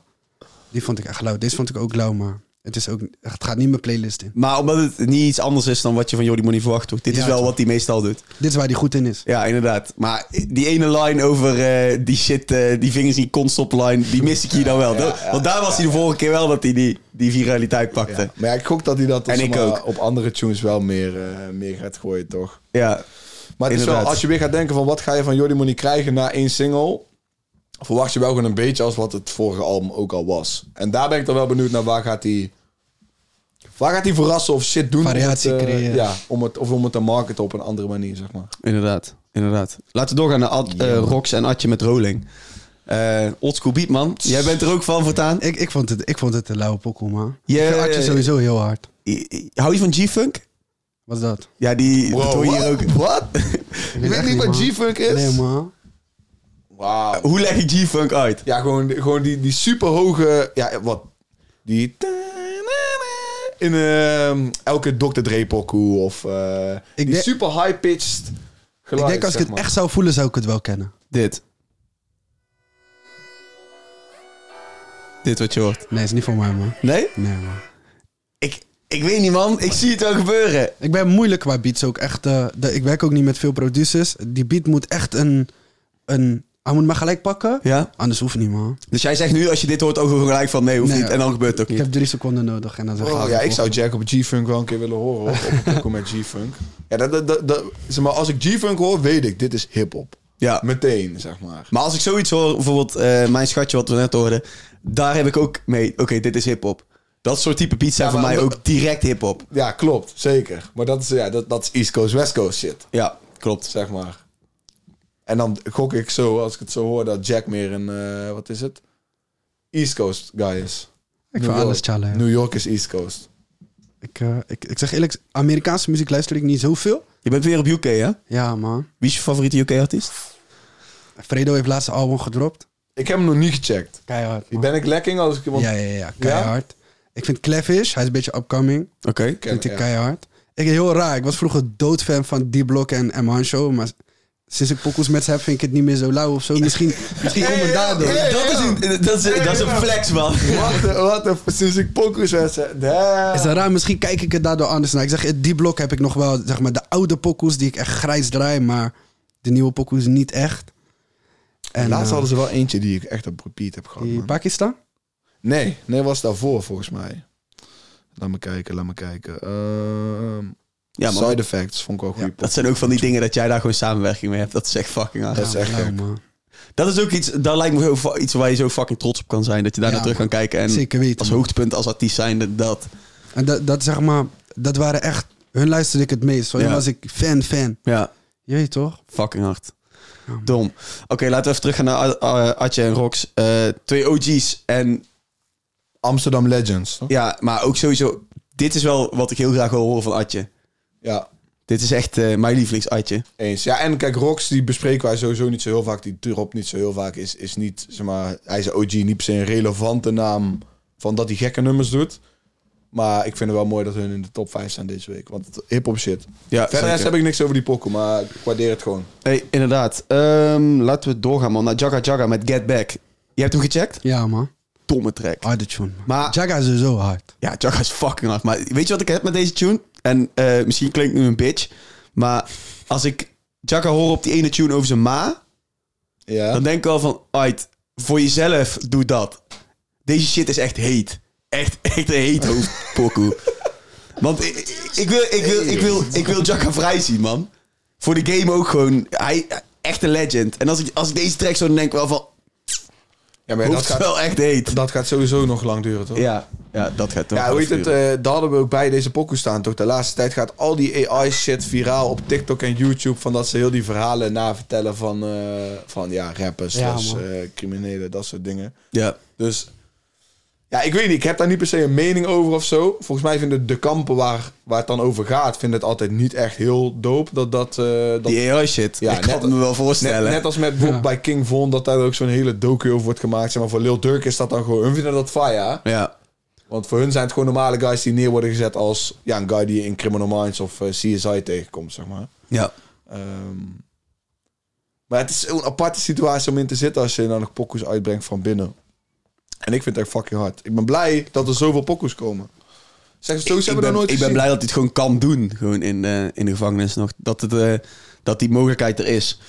Die vond ik echt lauw. Deze vond ik ook lauw, maar het, is ook, het gaat niet mijn playlist in.
Maar omdat het niet iets anders is dan wat je van Jordi Money verwacht, toch? Dit
Ja,
is wel
toch.
wat hij meestal doet.
Dit is waar hij goed in is.
Ja, inderdaad. Maar die ene line over eh, die shit, eh, die vingers niet kon stoppen line, die mis ik hier dan wel. Dat- Want daar was hij de vorige keer wel dat hij die, die viraliteit pakte.
Maar ja, ik gok dat hij dat
En
zeg
ik
maar,
ook.
op andere tunes wel meer, eh, meer gaat gooien, toch?
Ja.
Maar het is wel,
Inderdaad.
als je weer gaat denken van wat ga je van Jordi Money krijgen na één single, verwacht je wel gewoon een beetje als wat het vorige album ook al was. En daar ben ik dan wel benieuwd naar waar gaat hij, waar gaat hij verrassen of shit doen.
Variatie
om het, eh,
creëren.
Ja, om het, of om het te marketen op een andere manier, zeg maar.
inderdaad. Inderdaad. Laten we doorgaan naar Ad, eh, Rox en Adje met Rolling. Eh Oldschool beat, man. Jij bent er ook van voortaan.
Ik, ik, vond, het, ik vond het een lauwe pokoe, man.
Ja,
ik vind Artje
ja, ja.
sowieso heel hard.
I- I- Hou je van G-Funk?
Wat is dat?
Ja, die dat hoor je hier ook.
Wat?
Ik
Je weet niet wat G-Funk is?
Nee, man.
Wauw.
Hoe leg ik G-Funk uit?
Ja, gewoon, gewoon die, die superhoge... Ja, wat? Die... In ehm, elke Dr. Dre pokoe of eh, die
denk-
super high-pitched geluid,
Ik denk als ik
zeg
het
maar.
echt zou voelen, zou ik het wel kennen.
Dit. Dit wat je hoort.
Nee, is niet voor mij, man.
Nee?
Nee, man.
Ik, ik weet niet, man. Ik zie het wel gebeuren.
Ik ben moeilijk qua beats ook echt. eh, de- ik werk ook niet met veel producers. Die beat moet echt een... een hij moet maar gelijk pakken.
Ja.
Anders hoeft niet, man.
Dus jij zegt nu, als je dit hoort, ook gewoon gelijk van nee, hoeft
Nee.
niet. En dan gebeurt het ook
Ik
niet.
heb drie seconden nodig en dan zeg "Ah,
Oh, ja, ik zou Jack op G-Funk wel een keer willen horen. Hoor. Op een pokoe met G-Funk. Ja, dat, dat, dat, dat- zeg maar, als ik G-Funk hoor, weet ik, dit is hip-hop.
Ja.
Meteen, zeg maar.
Maar als ik zoiets hoor, bijvoorbeeld eh, mijn schatje wat we net hoorden, daar heb ik ook mee. Oké, dit is hip-hop. Dat soort type beats zijn
Ja,
voor
maar
mij
omdat-
ook direct hip-hop.
Ja, klopt, zeker. Maar dat is, ja, dat, dat is East Coast, West Coast shit,
Ja, klopt.
zeg maar. En dan gok ik zo, als ik het zo hoor, dat Jack meer een, eh, wat is het? East Coast guy is.
Ik
New
vind alles
York.
challa. ja.
New York is East Coast.
Ik, eh, ik, ik zeg eerlijk, Amerikaanse muziek luister ik niet zoveel.
Je bent weer op UK, hè?
Ja, man.
Wie is je favoriete UK-artiest?
Fredo heeft laatste album gedropt.
Ik heb hem nog niet gecheckt.
Keihard.
Die ben ik lekking als ik iemand...
Ja, ja, ja. Keihard. Ik vind Clevish, hij is een beetje upcoming.
Oké.
ken,
Vind ik
ja.
keihard. Ik heel raar. Ik was vroeger doodfan van D-Block en M1 Show. Maar sinds ik pokoes met ze heb, vind ik het niet meer zo lauw of zo. Misschien, misschien komt het daardoor.
Hey,
Dat is, een, dat, is, dat is een flex, man.
Wat een, wat een, sinds ik pokus werd, zei- damn.
Is dat raar? Misschien kijk ik het daardoor anders naar. Ik zeg, die blok heb ik nog wel, zeg maar, de oude pokoes die ik echt grijs draai, maar de nieuwe pokoes niet echt. En
Laatst
eh,
hadden ze wel eentje die ik echt op repeat heb gehad.
die
man.
Pakistan?
Nee, nee, was daarvoor volgens mij. Laat me kijken, laat me kijken. Ehm,
Ja, man.
Side Effects vond ik wel goed.
Dat zijn ook van die dingen dat jij daar gewoon samenwerking mee hebt. Dat is echt fucking hard.
Dat is echt
lauw,
gek.
Nou, man.
Dat is ook iets, dat lijkt me heel fa- iets waar je zo fucking trots op kan zijn. Dat je daar
Ja,
naar terug kan kijken. En
Zeker weten,
als
man.
hoogtepunt, als artiest zijnde, dat.
En dat, dat zeg maar, dat waren echt, hun luisterde ik het meest. Van hun
Ja.
was ik fan, fan.
Ja,
Je weet toch?
fucking hard. Dom. Oké, laten we even teruggaan naar Ad- eh, Adje en Rox. Eh, twee OG's en
Amsterdam Legends. toch?
ja, maar ook sowieso... Dit is wel wat ik heel graag wil horen van Adje.
Ja,
Dit is echt eh, mijn lievelings Adje.
eens. Ja, en kijk, Rox, die bespreken wij sowieso niet zo heel vaak. Die drop niet zo heel vaak. Is, is niet, zeg maar, hij is een OG, niet per se een relevante naam van dat hij gekke nummers doet. Maar ik vind het wel mooi dat hun in de top 5 staan deze week. Want het- hip-hop shit.
Ja,
Verder rest heb ik niks over die pokken, maar ik waardeer het gewoon.
Hey, inderdaad. Ehm, laten we doorgaan, man. Naar Jaga Jaga met Get Back. Je hebt hem gecheckt?
Ja, man.
Domme track.
Harde tune, man.
Maar-
Jaga is zo hard.
Ja, Jaga is fucking hard. Maar weet je wat ik heb met deze tune? En eh, misschien klinkt nu een bitch. Maar als ik Jaga hoor op die ene tune over zijn ma...
Ja.
Dan denk ik wel van... Uit, voor jezelf doe dat. Deze shit is echt heet. Echt, echt een heet hoofdpokoe. Want ik, ik wil, ik, wil, ik, wil, ik wil Jaga vrij zien, man. Voor de game ook gewoon. Hij, echt een legend. En als ik, als ik deze track zo dan denk ik wel van...
ja, maar dat
hoeft
gaat,
wel echt heet.
dat gaat sowieso nog lang duren, toch?
Ja, ja dat gaat toch.
Ja, hoe heet het? eh daar hadden we ook bij deze pokoe staan. Toch de laatste tijd gaat al die AI-shit viraal op TikTok en YouTube. Van dat ze heel die verhalen navertellen van, eh, van ja, rappers,
Ja,
dus,
man.
eh, criminelen, dat soort dingen.
Ja.
Dus ja, ik weet niet. Ik heb daar niet per se een mening over of zo. Volgens mij vinden de kampen waar, waar het dan over gaat, vinden het altijd niet echt heel dope. Dat dat... eh, dat
Die AI shit.
Ja,
Ja, ik kan
net-
het me wel voorstellen.
Net, net als met bijvoorbeeld bij King Von, dat daar ook zo'n hele docu over wordt gemaakt. Zeg maar voor Lil Durk is dat dan gewoon, hun vinden dat fire.
ja.
Want voor hun zijn het gewoon normale guys die neer worden gezet als ja, een guy die je in Criminal Minds of eh, CSI tegenkomt, zeg maar.
ja.
Ehm, maar het is zo'n aparte situatie om in te zitten als je dan nog pokoes uitbrengt van binnen. En ik vind het echt fucking hard. Ik ben blij dat er zoveel pokoes komen. Zeg, zo
Ik,
hebben we
ben,
dat nooit
ik ben
gezien.
blij dat hij het gewoon kan doen. Gewoon in, eh, in de gevangenis nog. Dat, het, eh, dat die mogelijkheid er is.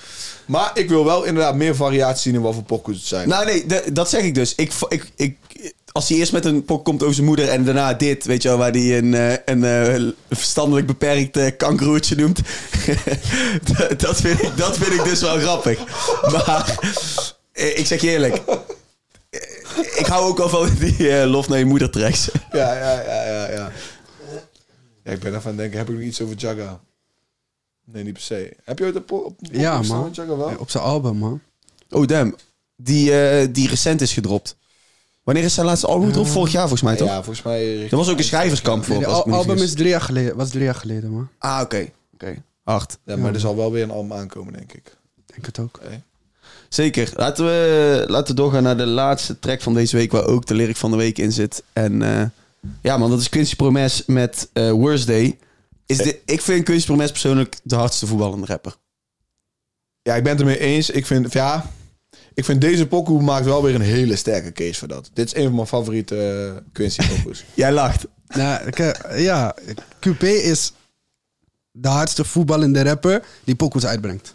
Maar ik wil wel inderdaad meer variatie zien in wat voor pokoes het zijn.
Nou nee, d- dat zeg ik dus. Ik, vo- ik, ik, als hij eerst met een pok komt over zijn moeder en daarna dit, weet je wel, waar hij een, eh, een eh, verstandelijk beperkt eh, kankeroertje noemt. dat, dat, vind ik, dat vind ik dus wel grappig. Maar eh, ik zeg je eerlijk, eh, ik hou ook al van die eh, lof naar je moeder tracks.
ja, ja, ja, ja, ja. Ja, ik ben even aan het denken, heb ik nog iets over Jagga? Nee, niet per se. Heb je ooit een po- op een
Ja,
pokoe staan
man.
met Jagga wel?
Op zijn album, man.
Oh damn, die, eh, die recent is gedropt. Wanneer is zijn laatste album gedropt? Vorig jaar volgens mij toch?
Eh, Ja, volgens mij...
Er was ook een schrijverskamp voor.
Het
als ik me niet
album
vergis.
is drie jaar geleden, was drie jaar geleden, man.
Ah oké, oké. Acht.
Ja, maar er zal wel weer een album aankomen, denk ik.
Ik denk het ook.
Zeker. Laten we, laten we doorgaan naar de laatste track van deze week, waar ook de lyric van de week in zit. En eh, ja, man, dat is Quincy Promes met eh Worst Day. Is
Eh.
dit, ik vind Quincy Promes persoonlijk de hardste voetballende rapper.
Ja, ik ben het ermee eens. Ik vind, ja, ik vind deze pokoe maakt wel weer een hele sterke case voor dat. Dit is een van mijn favoriete eh, Quincy pokoes.
Jij lacht.
Nou, ik, eh, ja, QP is de hardste voetballende rapper die pokoes uitbrengt.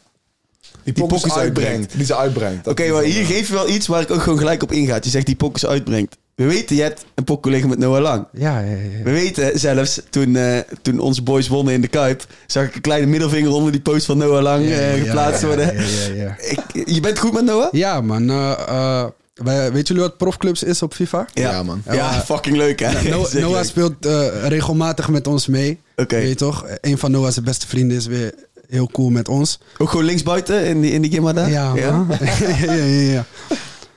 Die pokoes
pokoes
uitbrengt.
uitbrengt.
Die ze uitbrengt. Dat
Oké,
is
maar
wel-
hier geef je wel iets waar ik ook gewoon gelijk op ingaat. Je zegt die pokkers uitbrengt. We weten, je hebt een pokkel liggen met Noah Lang.
Ja, ja, ja.
We weten zelfs, toen, eh, toen onze boys wonnen in de Kuip, zag ik een kleine middelvinger onder die post van Noah Lang eh, geplaatst worden.
Ja, ja, ja.
Ik, je bent goed met Noah?
Ja, man. eh, eh, wij- weet jullie wat profclubs is op FIFA?
Ja, man.
Ja, fucking leuk hè.
No-
Zeker
Noah
leuk.
speelt eh, regelmatig met ons mee.
Oké.
Weet je toch? Een van Noah's beste vrienden is weer heel cool met ons.
Ook gewoon linksbuiten in die, in die gimma daar?
Ja, man. ja, ja, ja.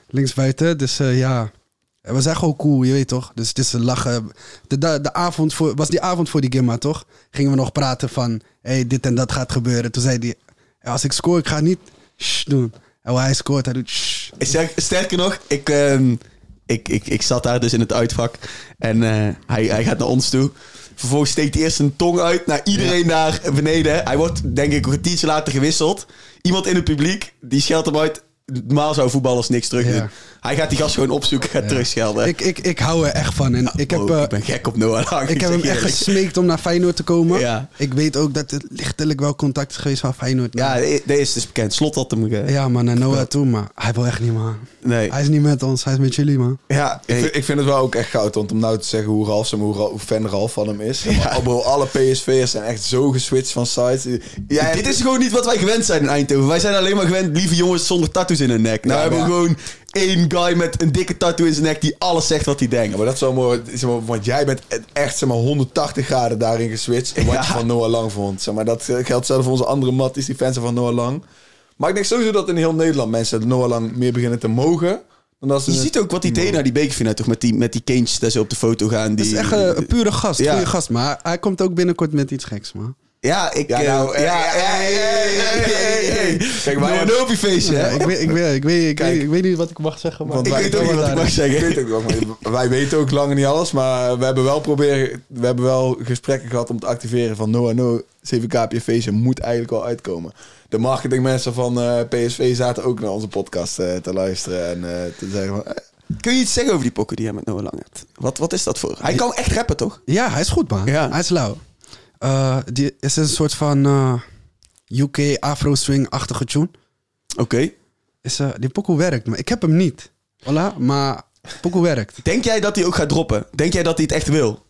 Linksbuiten, dus eh, ja. En we zijn gewoon cool, je weet toch? Dus het is een lachen. De, de, de avond voor, was die avond voor die Gimma, toch? Gingen we nog praten van, hey, dit en dat gaat gebeuren. Toen zei hij, als ik scoor, ik ga niet shh doen. En hij scoort, hij doet shh.
Sterk- Sterker nog, ik, ehm, ik, ik, ik zat daar dus in het uitvak en eh, hij, hij gaat naar ons toe. Vervolgens steekt hij eerst zijn tong uit naar iedereen daar beneden. Hij wordt denk ik een kwartiertje later gewisseld. Iemand in het publiek, die scheldt hem uit. Normaal zou voetballers niks terug doen.
Ja.
Hij gaat die gast gewoon opzoeken, gaat terugschelden.
Ik, ik, ik hou er echt van. En ik heb,
Oh,
eh,
ik ben gek op Noah Lang.
ik heb hem
zeg
echt
eerlijk.
gesmeekt om naar Feyenoord te komen.
Ja.
Ik weet ook dat er lichtelijk wel contact is geweest van Feyenoord.
Ja, dat is dus bekend. Slot had hem... ge-
Ja, man, naar Noah toe, maar hij wil echt niet, man.
Nee.
Hij is niet met ons, hij is met jullie, man.
Ja, ik, vind, ik vind het wel ook echt goud. Want om nou te zeggen hoe, Ralf, zeg maar, hoe, Ra- hoe fan Ralf van hem is. Maar
Oh,
bro, alle PSV'ers zijn echt zo geswitcht van sites. Ja,
Dit is gewoon niet wat wij gewend zijn in Eindhoven. Wij zijn alleen maar gewend lieve jongens zonder tattoos in hun nek. Nou
Ja,
hebben we
maar
gewoon één guy met een dikke tattoo in zijn nek die alles zegt wat hij denkt.
Ja, maar dat is wel mooi, zeg maar, want jij bent e- echt zeg maar, 180 graden daarin geswitcht. in Wat je
Ja.
van Noah Lang vond. Zeg maar, dat eh, geldt zelfs voor onze andere matties, die fans zijn van Noah Lang. Maar ik denk sowieso dat in heel Nederland mensen Noah Lang meer beginnen te mogen. Dan dat ze
Je
het-
ziet ook wat hij deed naar die bekerfinale toch met die, met die kindjes dat ze op de foto gaan. Die,
Het is echt eh, een pure gast,
Ja.
goede gast. Maar hij komt ook binnenkort met iets geks, man.
Ja, ik...
Ja,
eh,
nou, eh,
ja,
eh,
hey, hey,
eh,
hey,
eh,
hey, hey.
eh,
Kijk,
eh, eh,
wij hebben feestje,
Ja,
hè?
ik, weet, ik, weet, ik, weet, ik,
Kijk.
weet, ik weet niet wat ik mag zeggen, maar...
Want
Ik
wij-
weet ook niet wat ik mag
Ik
zeggen.
weet ook nog, maar wij weten ook lang niet alles, maar we hebben wel proberen, we hebben wel gesprekken gehad om te activeren van no no, CVKPFV, ze moet eigenlijk wel uitkomen. De marketingmensen van eh, PSV zaten ook naar onze podcast eh, te luisteren en eh, te zeggen van, eh,
Kun je iets zeggen over die pokken die hij met Noah Lang hebt? Wat, wat is dat voor? Hij kan echt rappen, toch?
Ja, hij is goed, man.
Ja.
Hij is lauw. Eh, die is een soort van eh, UK afro-swing-achtige tune.
Oké.
Is, eh, die pokoe werkt, maar ik heb hem niet. Voilà, maar pokoe werkt.
Denk jij dat hij ook gaat droppen? Denk jij dat hij het echt wil?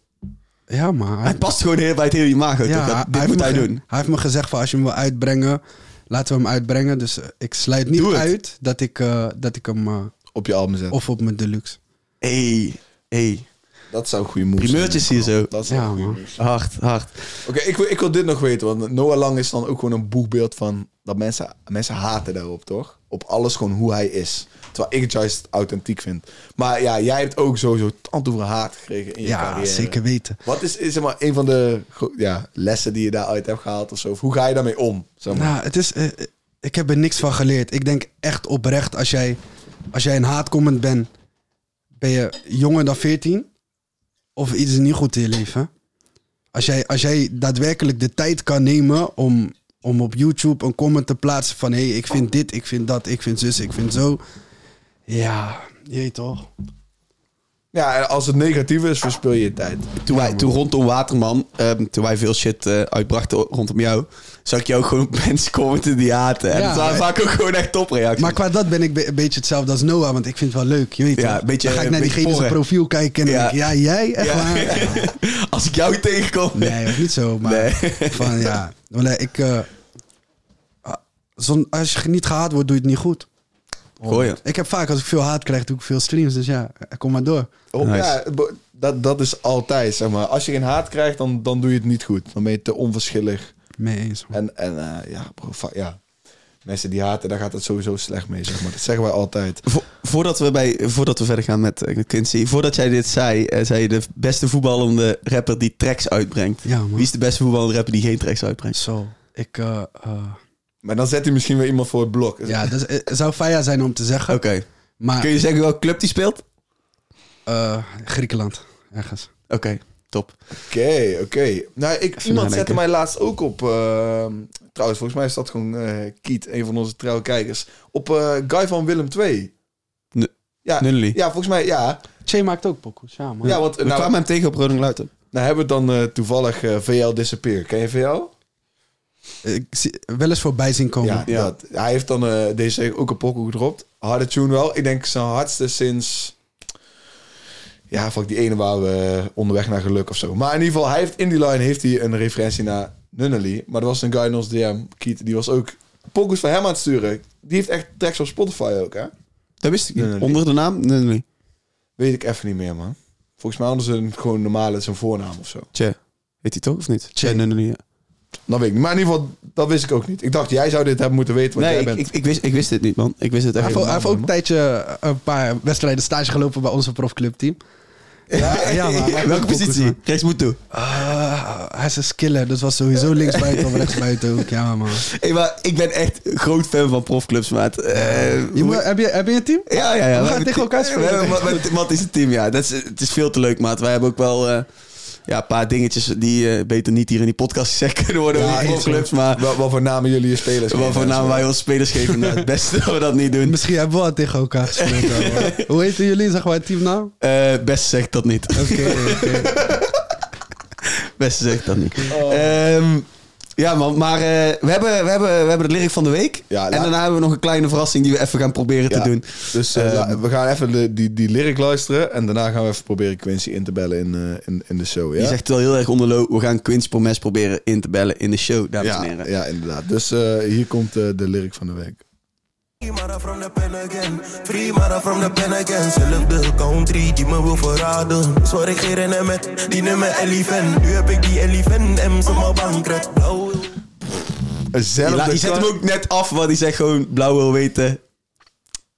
Ja, maar...
Hij past gewoon heel bij het hele imago, toch? Dat- dit moet
me
hij
ge-
doen.
Hij heeft me gezegd van als je hem wil uitbrengen, laten we hem uitbrengen. Dus eh, ik sluit niet
Doe het.
uit dat ik, eh, dat ik hem eh,
op je album zetten.
of op mijn deluxe.
Hey, hey.
dat zou een goede move
Primeurtjes hier zo.
Dat zou
Ja,
een goede
man.
move zijn.
Hard, hard.
Oké, ik wil ik wil dit nog weten, want Noah Lang is dan ook gewoon een boegbeeld van dat mensen, mensen haten daarop, toch? Op alles gewoon hoe hij is. Terwijl ik het juist authentiek vind. Maar ja, jij hebt ook sowieso tant over haat gekregen in je
Ja,
carrière.
zeker weten.
Wat is, is zeg maar een van de gro- ja, lessen die je daaruit hebt gehaald of zo? Of hoe ga je daarmee om? Zeg maar?
Nou, het is, eh, eh, ik heb er niks van geleerd. Ik denk echt oprecht, als jij, als jij een haatcomment bent, ben je jonger dan 14 of iets is niet goed in je leven. Als jij, als jij daadwerkelijk de tijd kan nemen om, om op YouTube een comment te plaatsen van hé, hey, ik vind dit, ik vind dat, ik vind zus, ik vind zo. Ja, je toch?
Ja, en als het negatief is, verspil je je tijd.
Toen, wij, toen rondom Waterman, ehm, toen wij veel shit eh, uitbrachten rondom jou, zag ik jou ook gewoon op mensen commenten die haten. En
Ja,
dat waren
maar-
vaak ook gewoon echt topreacties.
Maar qua dat ben ik be- een beetje hetzelfde als Noah, want ik vind het wel leuk. Je weet
Ja,
toch?
een beetje-
Dan ga ik
een
naar
beetje
diegene zijn
porren.
profiel kijken en ja.
Ja.
denk ik, ja, jij? Echt
Ja.
waar? Ja.
Als ik jou tegenkom.
Nee, ook niet zo. Maar
Nee.
van ja. Want, eh, ik, eh, ah, zon- als je niet gehaat wordt, doe je het niet goed.
Gooi je.
Ik heb vaak, als ik veel haat krijg, doe ik veel streams. Dus ja, eh, kom maar door.
Oh,
Nice.
ja, bo- dat, dat is altijd, zeg maar. Als je geen haat krijgt, dan, dan doe je het niet goed. Dan ben je te onverschillig.
Mee eens. man.
En, en eh, ja, bro, va- ja. Mensen die haten, daar gaat het sowieso slecht mee, zeg maar. Dat zeggen wij altijd.
Vo- voordat, we bij, voordat we verder gaan met eh, met Quincy, voordat jij dit zei, eh, zei je de beste voetballende rapper die tracks uitbrengt.
Ja, man.
Wie is de beste voetballende rapper die geen tracks uitbrengt?
Zo, ik... eh, eh,
Maar dan zet hij misschien weer iemand voor het blok.
ja, dus, eh, zou faya zijn om te zeggen.
Oké.
Maar
Kun je zeggen welke club die speelt? Ah. Oké,
eh, Griekenland, ergens.
top.
Oké, oké. Nou, ik, iemand
nadenken.
zette mij laatst ook op... eh, trouwens, volgens mij is dat gewoon eh, Kiet, een van onze trouwe kijkers. Op eh, Guy van Willem II.
Nu-
ja,
Nunnely.
ja, volgens mij, ja.
Che maakt ook pokoes, ja man.
ja want,
We
eh, nou,
kwamen hem tegen op Roding Luiten.
nou hebben we dan eh, toevallig eh, VL Disappear. Ken je VL?
Ik zie wel eens voorbij zien komen.
Ja, Dat. hij heeft dan eh, deze week ook een pokoe gedropt. Harde tune wel. Ik denk zijn hardste sinds... Ja, fuck die ene waar we onderweg naar geluk of zo. Maar in ieder geval, hij heeft in die line heeft hij een referentie naar Nunnally. Maar er was een guy in ons DM, Kiet, die was ook pokoes van hem aan het sturen. Die heeft echt tracks op Spotify ook, hè?
Dat wist ik niet.
Nunnally.
Onder de naam? Nee, nee, nee.
Weet ik even niet meer, man. Volgens mij hadden ze een gewoon normale zijn voornaam of zo.
Tje. Heet hij toch of niet? Tje, nee, nee, nee, ja.
Dan weet ik niet. Maar in ieder geval, dat wist ik ook niet. Ik dacht, jij zou dit hebben moeten weten, want
Nee,
jij
ik,
bent...
ik, ik wist, ik wist dit niet, man. Ik wist het
Hij
echt
heeft ook-
niet.
hij heeft ook een tijdje eh, een paar wedstrijden stage gelopen bij onze profclubteam. Ja, ja, maar- maar-
Welke positie? Rechts moet toe.
Ah, hij is een skiller, dus was sowieso linksbuiten of rechtsbuiten ook. Ja, man.
Hey, maar ik ben echt groot fan van profclubs, maat. Eh,
Je moet, heb, je, heb je een team?
Ja, ja, ja.
We
hebben
gaan
een
tegen
team.
elkaar
We
spelen.
hebben- Wat, wat- wat is het team? Ja, dat is, het is veel te leuk, maat. Wij hebben ook wel eh, ja, een paar dingetjes die eh, beter niet hier in die podcast gezegd kunnen worden. over die profclubs, maar
Wel, wel voor namen jullie je spelers.
wat voor
geven,
naam
zo.
wij onze spelers geven, nou, het beste dat we dat niet doen.
Misschien hebben we al tegen elkaar gespeeld. hoor, man. Hoe heten jullie, zeg maar, nou? teamnaam?
Eh, best zegt dat niet.
Oké, oké.
Best zegt dat niet.
Oh.
Ehm, ja, man, maar eh, we, hebben, we, hebben, we hebben de lyric van de week.
Ja,
en
laat-
daarna hebben we nog een kleine verrassing die we even gaan proberen
Ja.
te doen.
Dus eh,
Eh,
la- we gaan even de, die, die lyric luisteren. En daarna gaan we even proberen Quincy in te bellen in, eh, in, in de show. Ja?
Je zegt wel heel erg onder low. We gaan Quincy Promes proberen in te bellen in de show, dames en
ja,
heren.
ja, inderdaad. Dus eh, hier komt eh, de lyric van de week.
Free Mara from the pen again. Free Mara from the pen again. Zelf de country die me wil verraden. Zwaar ik geen rennen met die nummer Elephant. Nu heb ik die Elephant M's op mijn bankret. Blauw.
Je,
Zelfde
la- je zet hem ook net af, want hij zegt gewoon blauw wil weten.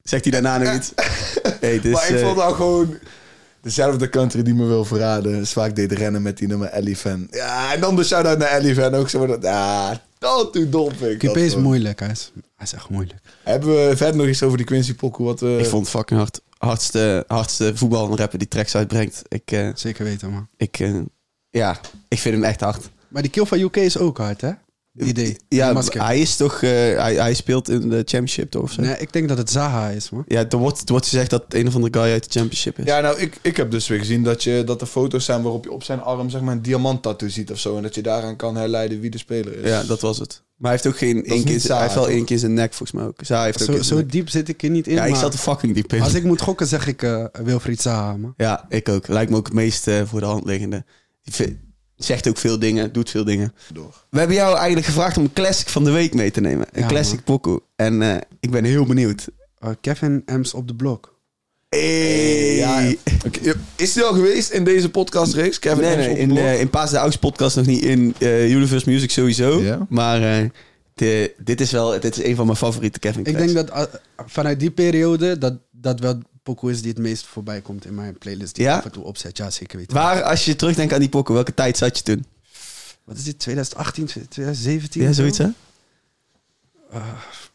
Zegt hij daarna nog iets? Hey, dus,
maar ik
eh,
vond nou gewoon dezelfde country die me wil verraden. Is vaak deed rennen met die nummer Ellie Van. Ja, en dan de shout-out naar Ellie Van ook. Zo, maar dat, ja, dat doe dom vind ik.
QP
dat
is
gewoon.
moeilijk, hij is, hij is echt moeilijk.
Hebben we verder nog iets over die Quincy Pokoe? Wat, eh,
ik vond het fucking hard. Hardste, hardste voetbal en rapper die tracks uitbrengt. Ik, eh,
Zeker weten, man.
ik, eh, ja, ik vind hem echt hard.
Maar die kill van UK is ook hard, hè? Die idee.
Ja,
masker.
hij is toch, eh, hij, hij speelt in de championship toch of zo?
Nee, ik denk dat het Zaha is, man.
Ja, er wordt, er wordt gezegd dat het een of andere guy uit de championship is.
Ja, nou, ik, ik heb dus weer gezien dat, je, dat er foto's zijn waarop je op zijn arm zeg maar, een diamant-tattoo ziet of zo. En dat je daaraan kan herleiden wie de speler is.
Ja, dat was het. Maar hij heeft ook geen één
niet
keer, hij
Zaha,
heeft wel
toch?
één keer zijn nek volgens mij ook. Zaha heeft ook
Zo,
in zijn
zo
nek.
diep zit ik er niet in.
Ja, ik
maar
zat er fucking diep in.
als ik moet gokken, zeg ik eh, Wilfried Zaha, man.
Ja, ik ook. Lijkt me ook het meest eh, voor de hand liggende. Die ve- Zegt ook veel dingen, doet veel dingen. We hebben jou eigenlijk gevraagd om een classic van de week mee te nemen. Een
Ja,
classic pokoe. En eh, ik ben heel benieuwd.
Eh, Kevin Ems op de blok.
Hey.
Ja, oké. Is die al geweest in deze podcastreeks? Kevin
nee,
Ems
nee,
op de
in,
blok?
eh, in Paas de Ouds podcast nog niet. In eh, Universe Music sowieso.
Ja.
Maar eh, de- dit is wel dit is een van mijn favoriete Kevin
Ik denk dat eh, vanuit die periode dat dat wel Poco is die het meest voorbij komt in mijn playlist. Die
Ja?
ik af en toe opzet. Ja, zeker weten.
Waar, als je terugdenkt aan die pokoe, welke tijd zat je toen?
Wat is dit? 2018, 2017?
Ja,
of zo?
zoiets hè?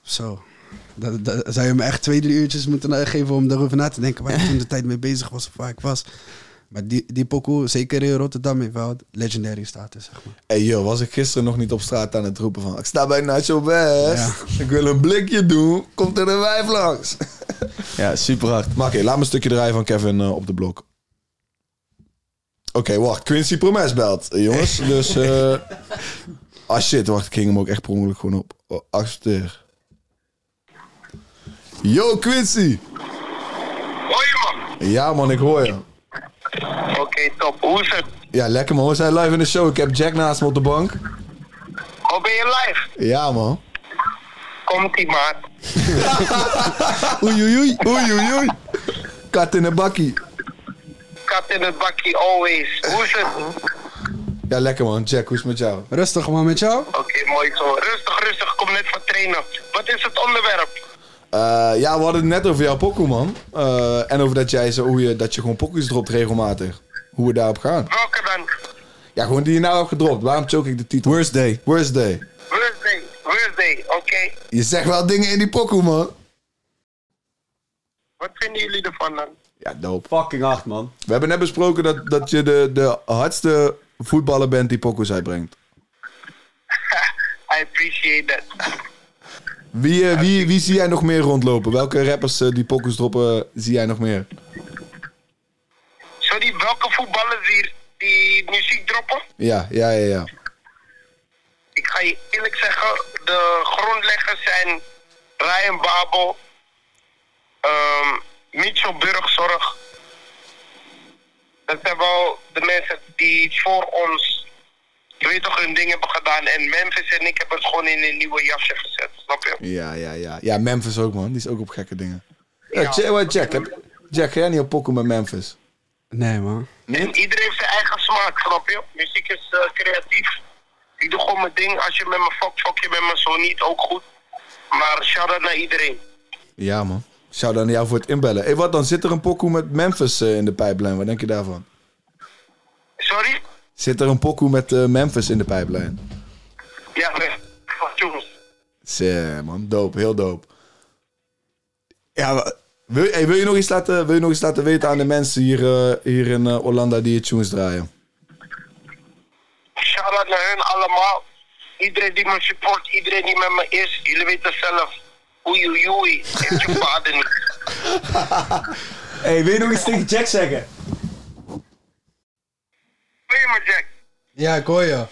Zo. Dat, dat, zou je me echt twee, drie uurtjes moeten eh, geven om daarover na te denken. Waar ik toen de tijd mee bezig was of waar ik was. Maar die, die pokoe, zeker in Rotterdam, heeft wel legendary status, zeg maar.
Hey joh, was ik gisteren nog niet op straat aan het roepen van... Ik sta bij Nacho West.
Ja.
Ik wil een blikje doen. Komt er een wijf langs.
Ja, super hard.
Maar oké, laat me een stukje draaien van Kevin eh, op de blok. Oké, wacht. Quincy Promes belt, eh, jongens. Dus... eh ah shit, wacht. Ik ging hem ook echt per ongeluk gewoon op. Oh, accepteer. Yo, Quincy.
Hoi man.
Ja man, ik hoor je.
Oké, top. Hoe is het?
Ja, lekker man. We zijn live in de show. Ik heb Jack naast me op de bank.
Oh, ben je live?
Ja man.
Komt ie maat.
Oei, oei, oei. Oei, oei, oei. Kat in een bakkie.
Kat in het bakkie, always. Hoe is het? Oké,
Ja, lekker man. Jack, hoe is het met jou?
Rustig man, met jou?
mooi zo. Rustig, rustig. Kom net van trainen. Wat is het onderwerp?
Eh, ja, we hadden het net over jouw pokoe, man. Eh, en over dat jij zo, hoe je, dat je gewoon pokoes dropt regelmatig. Hoe we daarop gaan.
Welke dan?
Ja, gewoon die je nou hebt gedropt. Waarom choke ik de titel?
Worst day.
Worst Day.
Wednesday. Wednesday, oké.
Je zegt wel dingen in die pokoe, man.
Wat vinden jullie ervan dan?
Ja, dope.
Fucking hard man.
We hebben net besproken dat, dat je de, de hardste voetballer bent die pokoes uitbrengt.
I appreciate that.
Wie, eh, wie, wie zie jij nog meer rondlopen? Welke rappers eh, die pokoes droppen zie jij nog meer?
Sorry, welke voetballers hier die muziek droppen?
Ja, ja, ja, ja.
Ik ga je eerlijk zeggen, de grondleggers zijn Ryan Babel, ehm Mitchell Burgzorg. Dat zijn wel de mensen die voor ons, je weet toch, hun ding hebben gedaan. En Memphis en ik hebben het gewoon in een nieuwe jasje gezet, snap je?
Ja, ja, ja. Ja, Memphis ook, man. Die is ook op gekke dingen. Ja, Jack, wat, Jack, heb- Jack, ga jij niet op pokoe met Memphis?
Nee man.
En iedereen heeft zijn eigen smaak, snap je? Muziek is eh, creatief. Ik doe gewoon doe mijn ding. Als je met me fuck, fuck je met me zo niet, ook goed. Maar shout-out naar iedereen.
Ja, man. Zou dan jou voor het inbellen. Hey, wat dan? Zit er een pokoe met Memphis eh, in de pijplijn? Wat denk je daarvan?
Sorry?
Zit er een pokoe met eh, Memphis in de pijplijn?
Ja, best. Fatsoens.
Zé, man. Doop. Heel doop.
Ja, maar-
Wil, hey, wil, je nog iets laten, wil je nog iets laten weten aan de mensen hier, eh, hier in eh, Hollanda die je tunes draaien?
Shout-out naar hen allemaal. Iedereen die me support, iedereen die met me is. Jullie weten zelf. Oei, oei, oei. Heeft je vader niet.
hey, wil je nog iets tegen Jack zeggen?
Weet je me, Jack?
Ja, ik hoor je.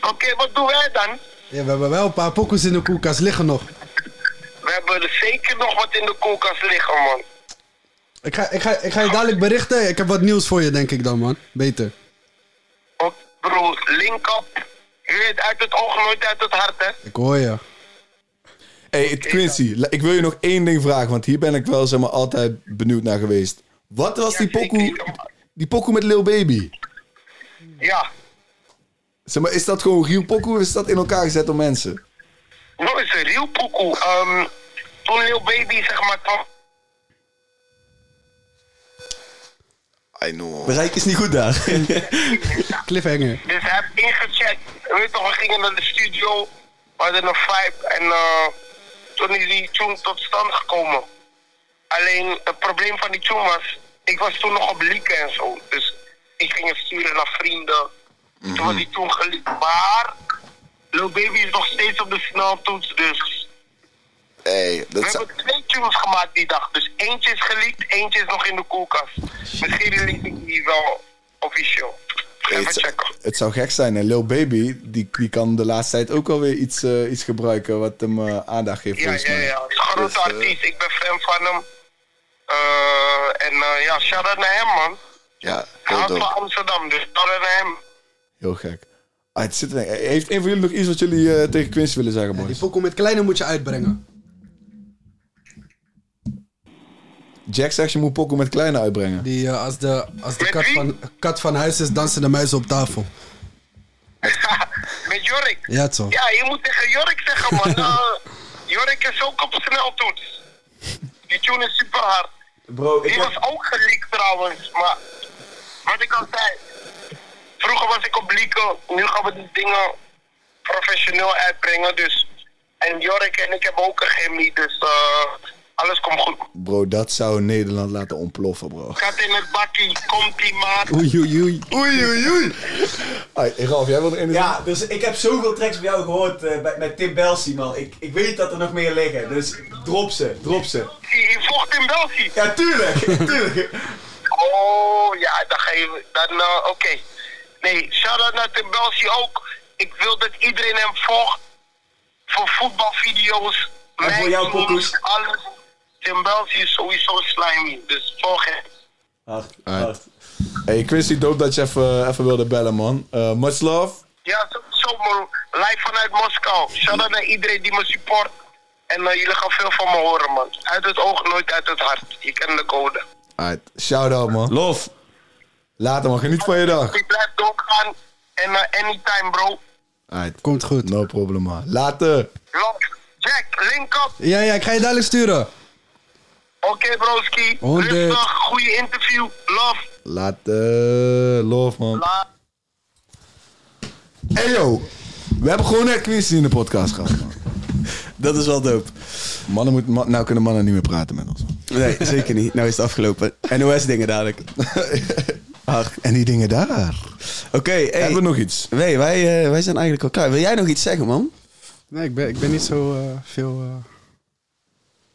Oké, wat doen wij dan?
Ja, we hebben wel een paar pokoes in de koelkast liggen nog.
We hebben er zeker nog wat in de koelkast liggen, man.
Ik ga, ik, ga, ik ga je dadelijk berichten. Ik heb wat nieuws voor je, denk ik dan, man. Beter.
Want bro, link up. Je weet, uit het oog, nooit uit het hart, hè.
Ik hoor je.
Oh Hey, Quincy, la- ik wil je nog één ding vragen, want hier ben ik wel zeg maar, altijd benieuwd naar geweest. Wat was
Ja,
die
zeker,
pokoe,
jongen.
die pokoe met Lil Baby?
Ja.
Zeg maar, is dat gewoon real pokoe of is dat in elkaar gezet door mensen?
Nou is een real poekoe. Ehm, toen Lil Baby, zeg maar, kwam...
I know.
Bereik is niet goed daar.
Cliffhanger.
Dus hij heeft ingecheckt. Je Weet toch, we gingen naar de studio. We hadden een vibe. En eh, toen is die tune tot stand gekomen. Alleen het probleem van die tune was... Ik was toen nog op leaken en zo. Dus ik ging het sturen naar vrienden. Toen
Mhm.
was die tune geleakt. Maar Lil Baby is nog steeds op de sneltoets. Dus
Hey,
we
dat zou-
hebben twee tunes gemaakt die dag. Dus eentje is geleakt, eentje is nog in de koelkast. Misschien liet ik die wel officieel. Even
het, zou-
checken.
het zou gek zijn. En Lil Baby, die, die kan de laatste tijd ook alweer iets, eh, iets gebruiken wat hem eh, aandacht geeft.
Ja,
volgens
ja,
mij.
ja. Het is een Grote
Dus, eh,
artiest. Ik ben fan van hem. Eh, en eh, ja, shout-out naar hem, man.
ja,
Hij
heel
houdt
dope.
van Amsterdam, dus shout-out naar hem.
Heel gek. Ah, het zit er- Heeft een van jullie nog iets wat jullie eh, tegen Quincy willen zeggen,
Die
boys?
pokoe met kleine moet je uitbrengen.
Jack zegt je moet pokoe met kleine uitbrengen.
Die, eh, als de, als de
Met
kat,
wie?
van, kat van huis is, dansen de muizen op tafel.
Met Jorik.
Ja, toch?
Ja, je moet tegen Jorik zeggen, man. Eh, Jorik is ook op sneltoets. Die tune is super hard.
Bro,
Die was ook geleakt trouwens, maar wat ik al zei. Vroeger was ik op Lieke, nu gaan we die dingen professioneel uitbrengen. Dus. En Jorik en ik hebben ook een chemie, dus eh, alles komt goed.
Bro, dat zou Nederland laten ontploffen, bro.
Kat in het bakkie, komt die maat.
Oei, oei, oei.
Oei, oei, oei. Hey, Ralf, jij wilde in
Ja, dus ik heb zoveel tracks bij jou gehoord eh, bij, met Tim Belsi, man. Ik, ik weet dat er nog meer liggen, dus drop ze, drop ze.
Die die vocht in België.
Ja, tuurlijk, tuurlijk.
Oh ja, dan ga je. Dan, eh, oké. Nee, shout-out naar Tim Belsi ook. Ik wil dat iedereen hem volgt. Voor voetbalvideo's.
En voor jouw
mijn teams,
pokoes.
Alles. Tim Belsi is sowieso slimy. Dus volg hem.
Hard,
Alright.
hard.
Hey, Quincy, dope dat je even, eh, even wilde bellen, man. Eh, much love.
Ja, zo- zo man. Live vanuit Moskou. Shout-out naar iedereen die me support. En eh, jullie gaan veel van me horen, man. Uit het oog, nooit uit het hart. Je kent de code.
Alright, shout out, man.
Love.
Later, man. Geniet van je dag.
Ik blijf doorgaan. En eh, anytime, bro.
Alright,
Komt goed.
no problem, man. Later.
Love. Jack, link up.
Ja, ja, ik ga je dadelijk sturen.
Oké, broski.
Honderd.
Rustig, goede interview. Love.
Later. Love, man.
La.
Hey, yo. We hebben gewoon net Quincy in de podcast gehad, man.
Dat is wel dope.
Mannen moet, man- nou kunnen mannen niet meer praten met ons. man.
Nee, zeker niet. Nou is het afgelopen. NOS-dingen dadelijk. Hard.
En die dingen daar.
Oké, hey.
Hebben we nog iets?
Nee, wij, eh, wij zijn eigenlijk al klaar. Wil jij nog iets zeggen, man?
Nee, ik ben, ik ben niet zo eh, veel... eh,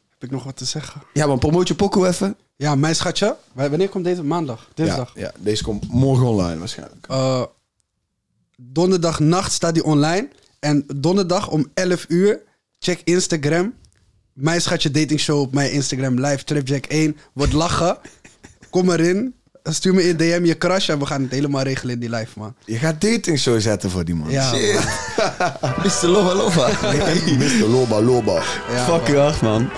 Heb ik nog wat te zeggen?
Ja, man, promoot je pokoe even.
Ja, mijn schatje. w- Wanneer komt deze? Maandag.
Ja,
Dinsdag.
ja, deze komt morgen online waarschijnlijk.
Eh, donderdagnacht staat die online. En donderdag om 11 uur, check Instagram. Mijn schatje dating show op mijn Instagram live, Tripjack 1. Wordt lachen. Kom erin. Stuur me in DM je crush en we gaan het helemaal regelen in die live, man.
Je gaat dating show zetten voor die man.
Ja, man.
Mr. Lova Lova.
Mr. Loba Loba.
Ja,
Fucking hard, man.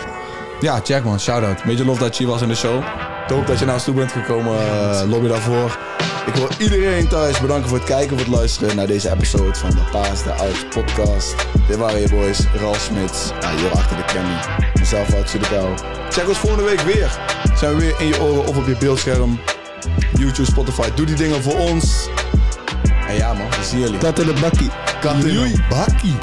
Ja, check man, shout-out. Beetje lof dat je hier was in de show. Ik hoop dat je naar ons toe bent gekomen. eh, lobby daarvoor. Ik wil iedereen thuis bedanken voor het kijken of het luisteren naar deze episode van de Paas de Ouds podcast. Dit waren je boys, Ralf Smits, ja, hier achter de candy. Mezelf uit Sudebel. Check ons volgende week weer. Zijn we weer in je oren of op je beeldscherm. YouTube, Spotify, doe die dingen voor ons. En ja man, we zien jullie.
Dat in de bakkie.
Kattenjoei. Bakkie.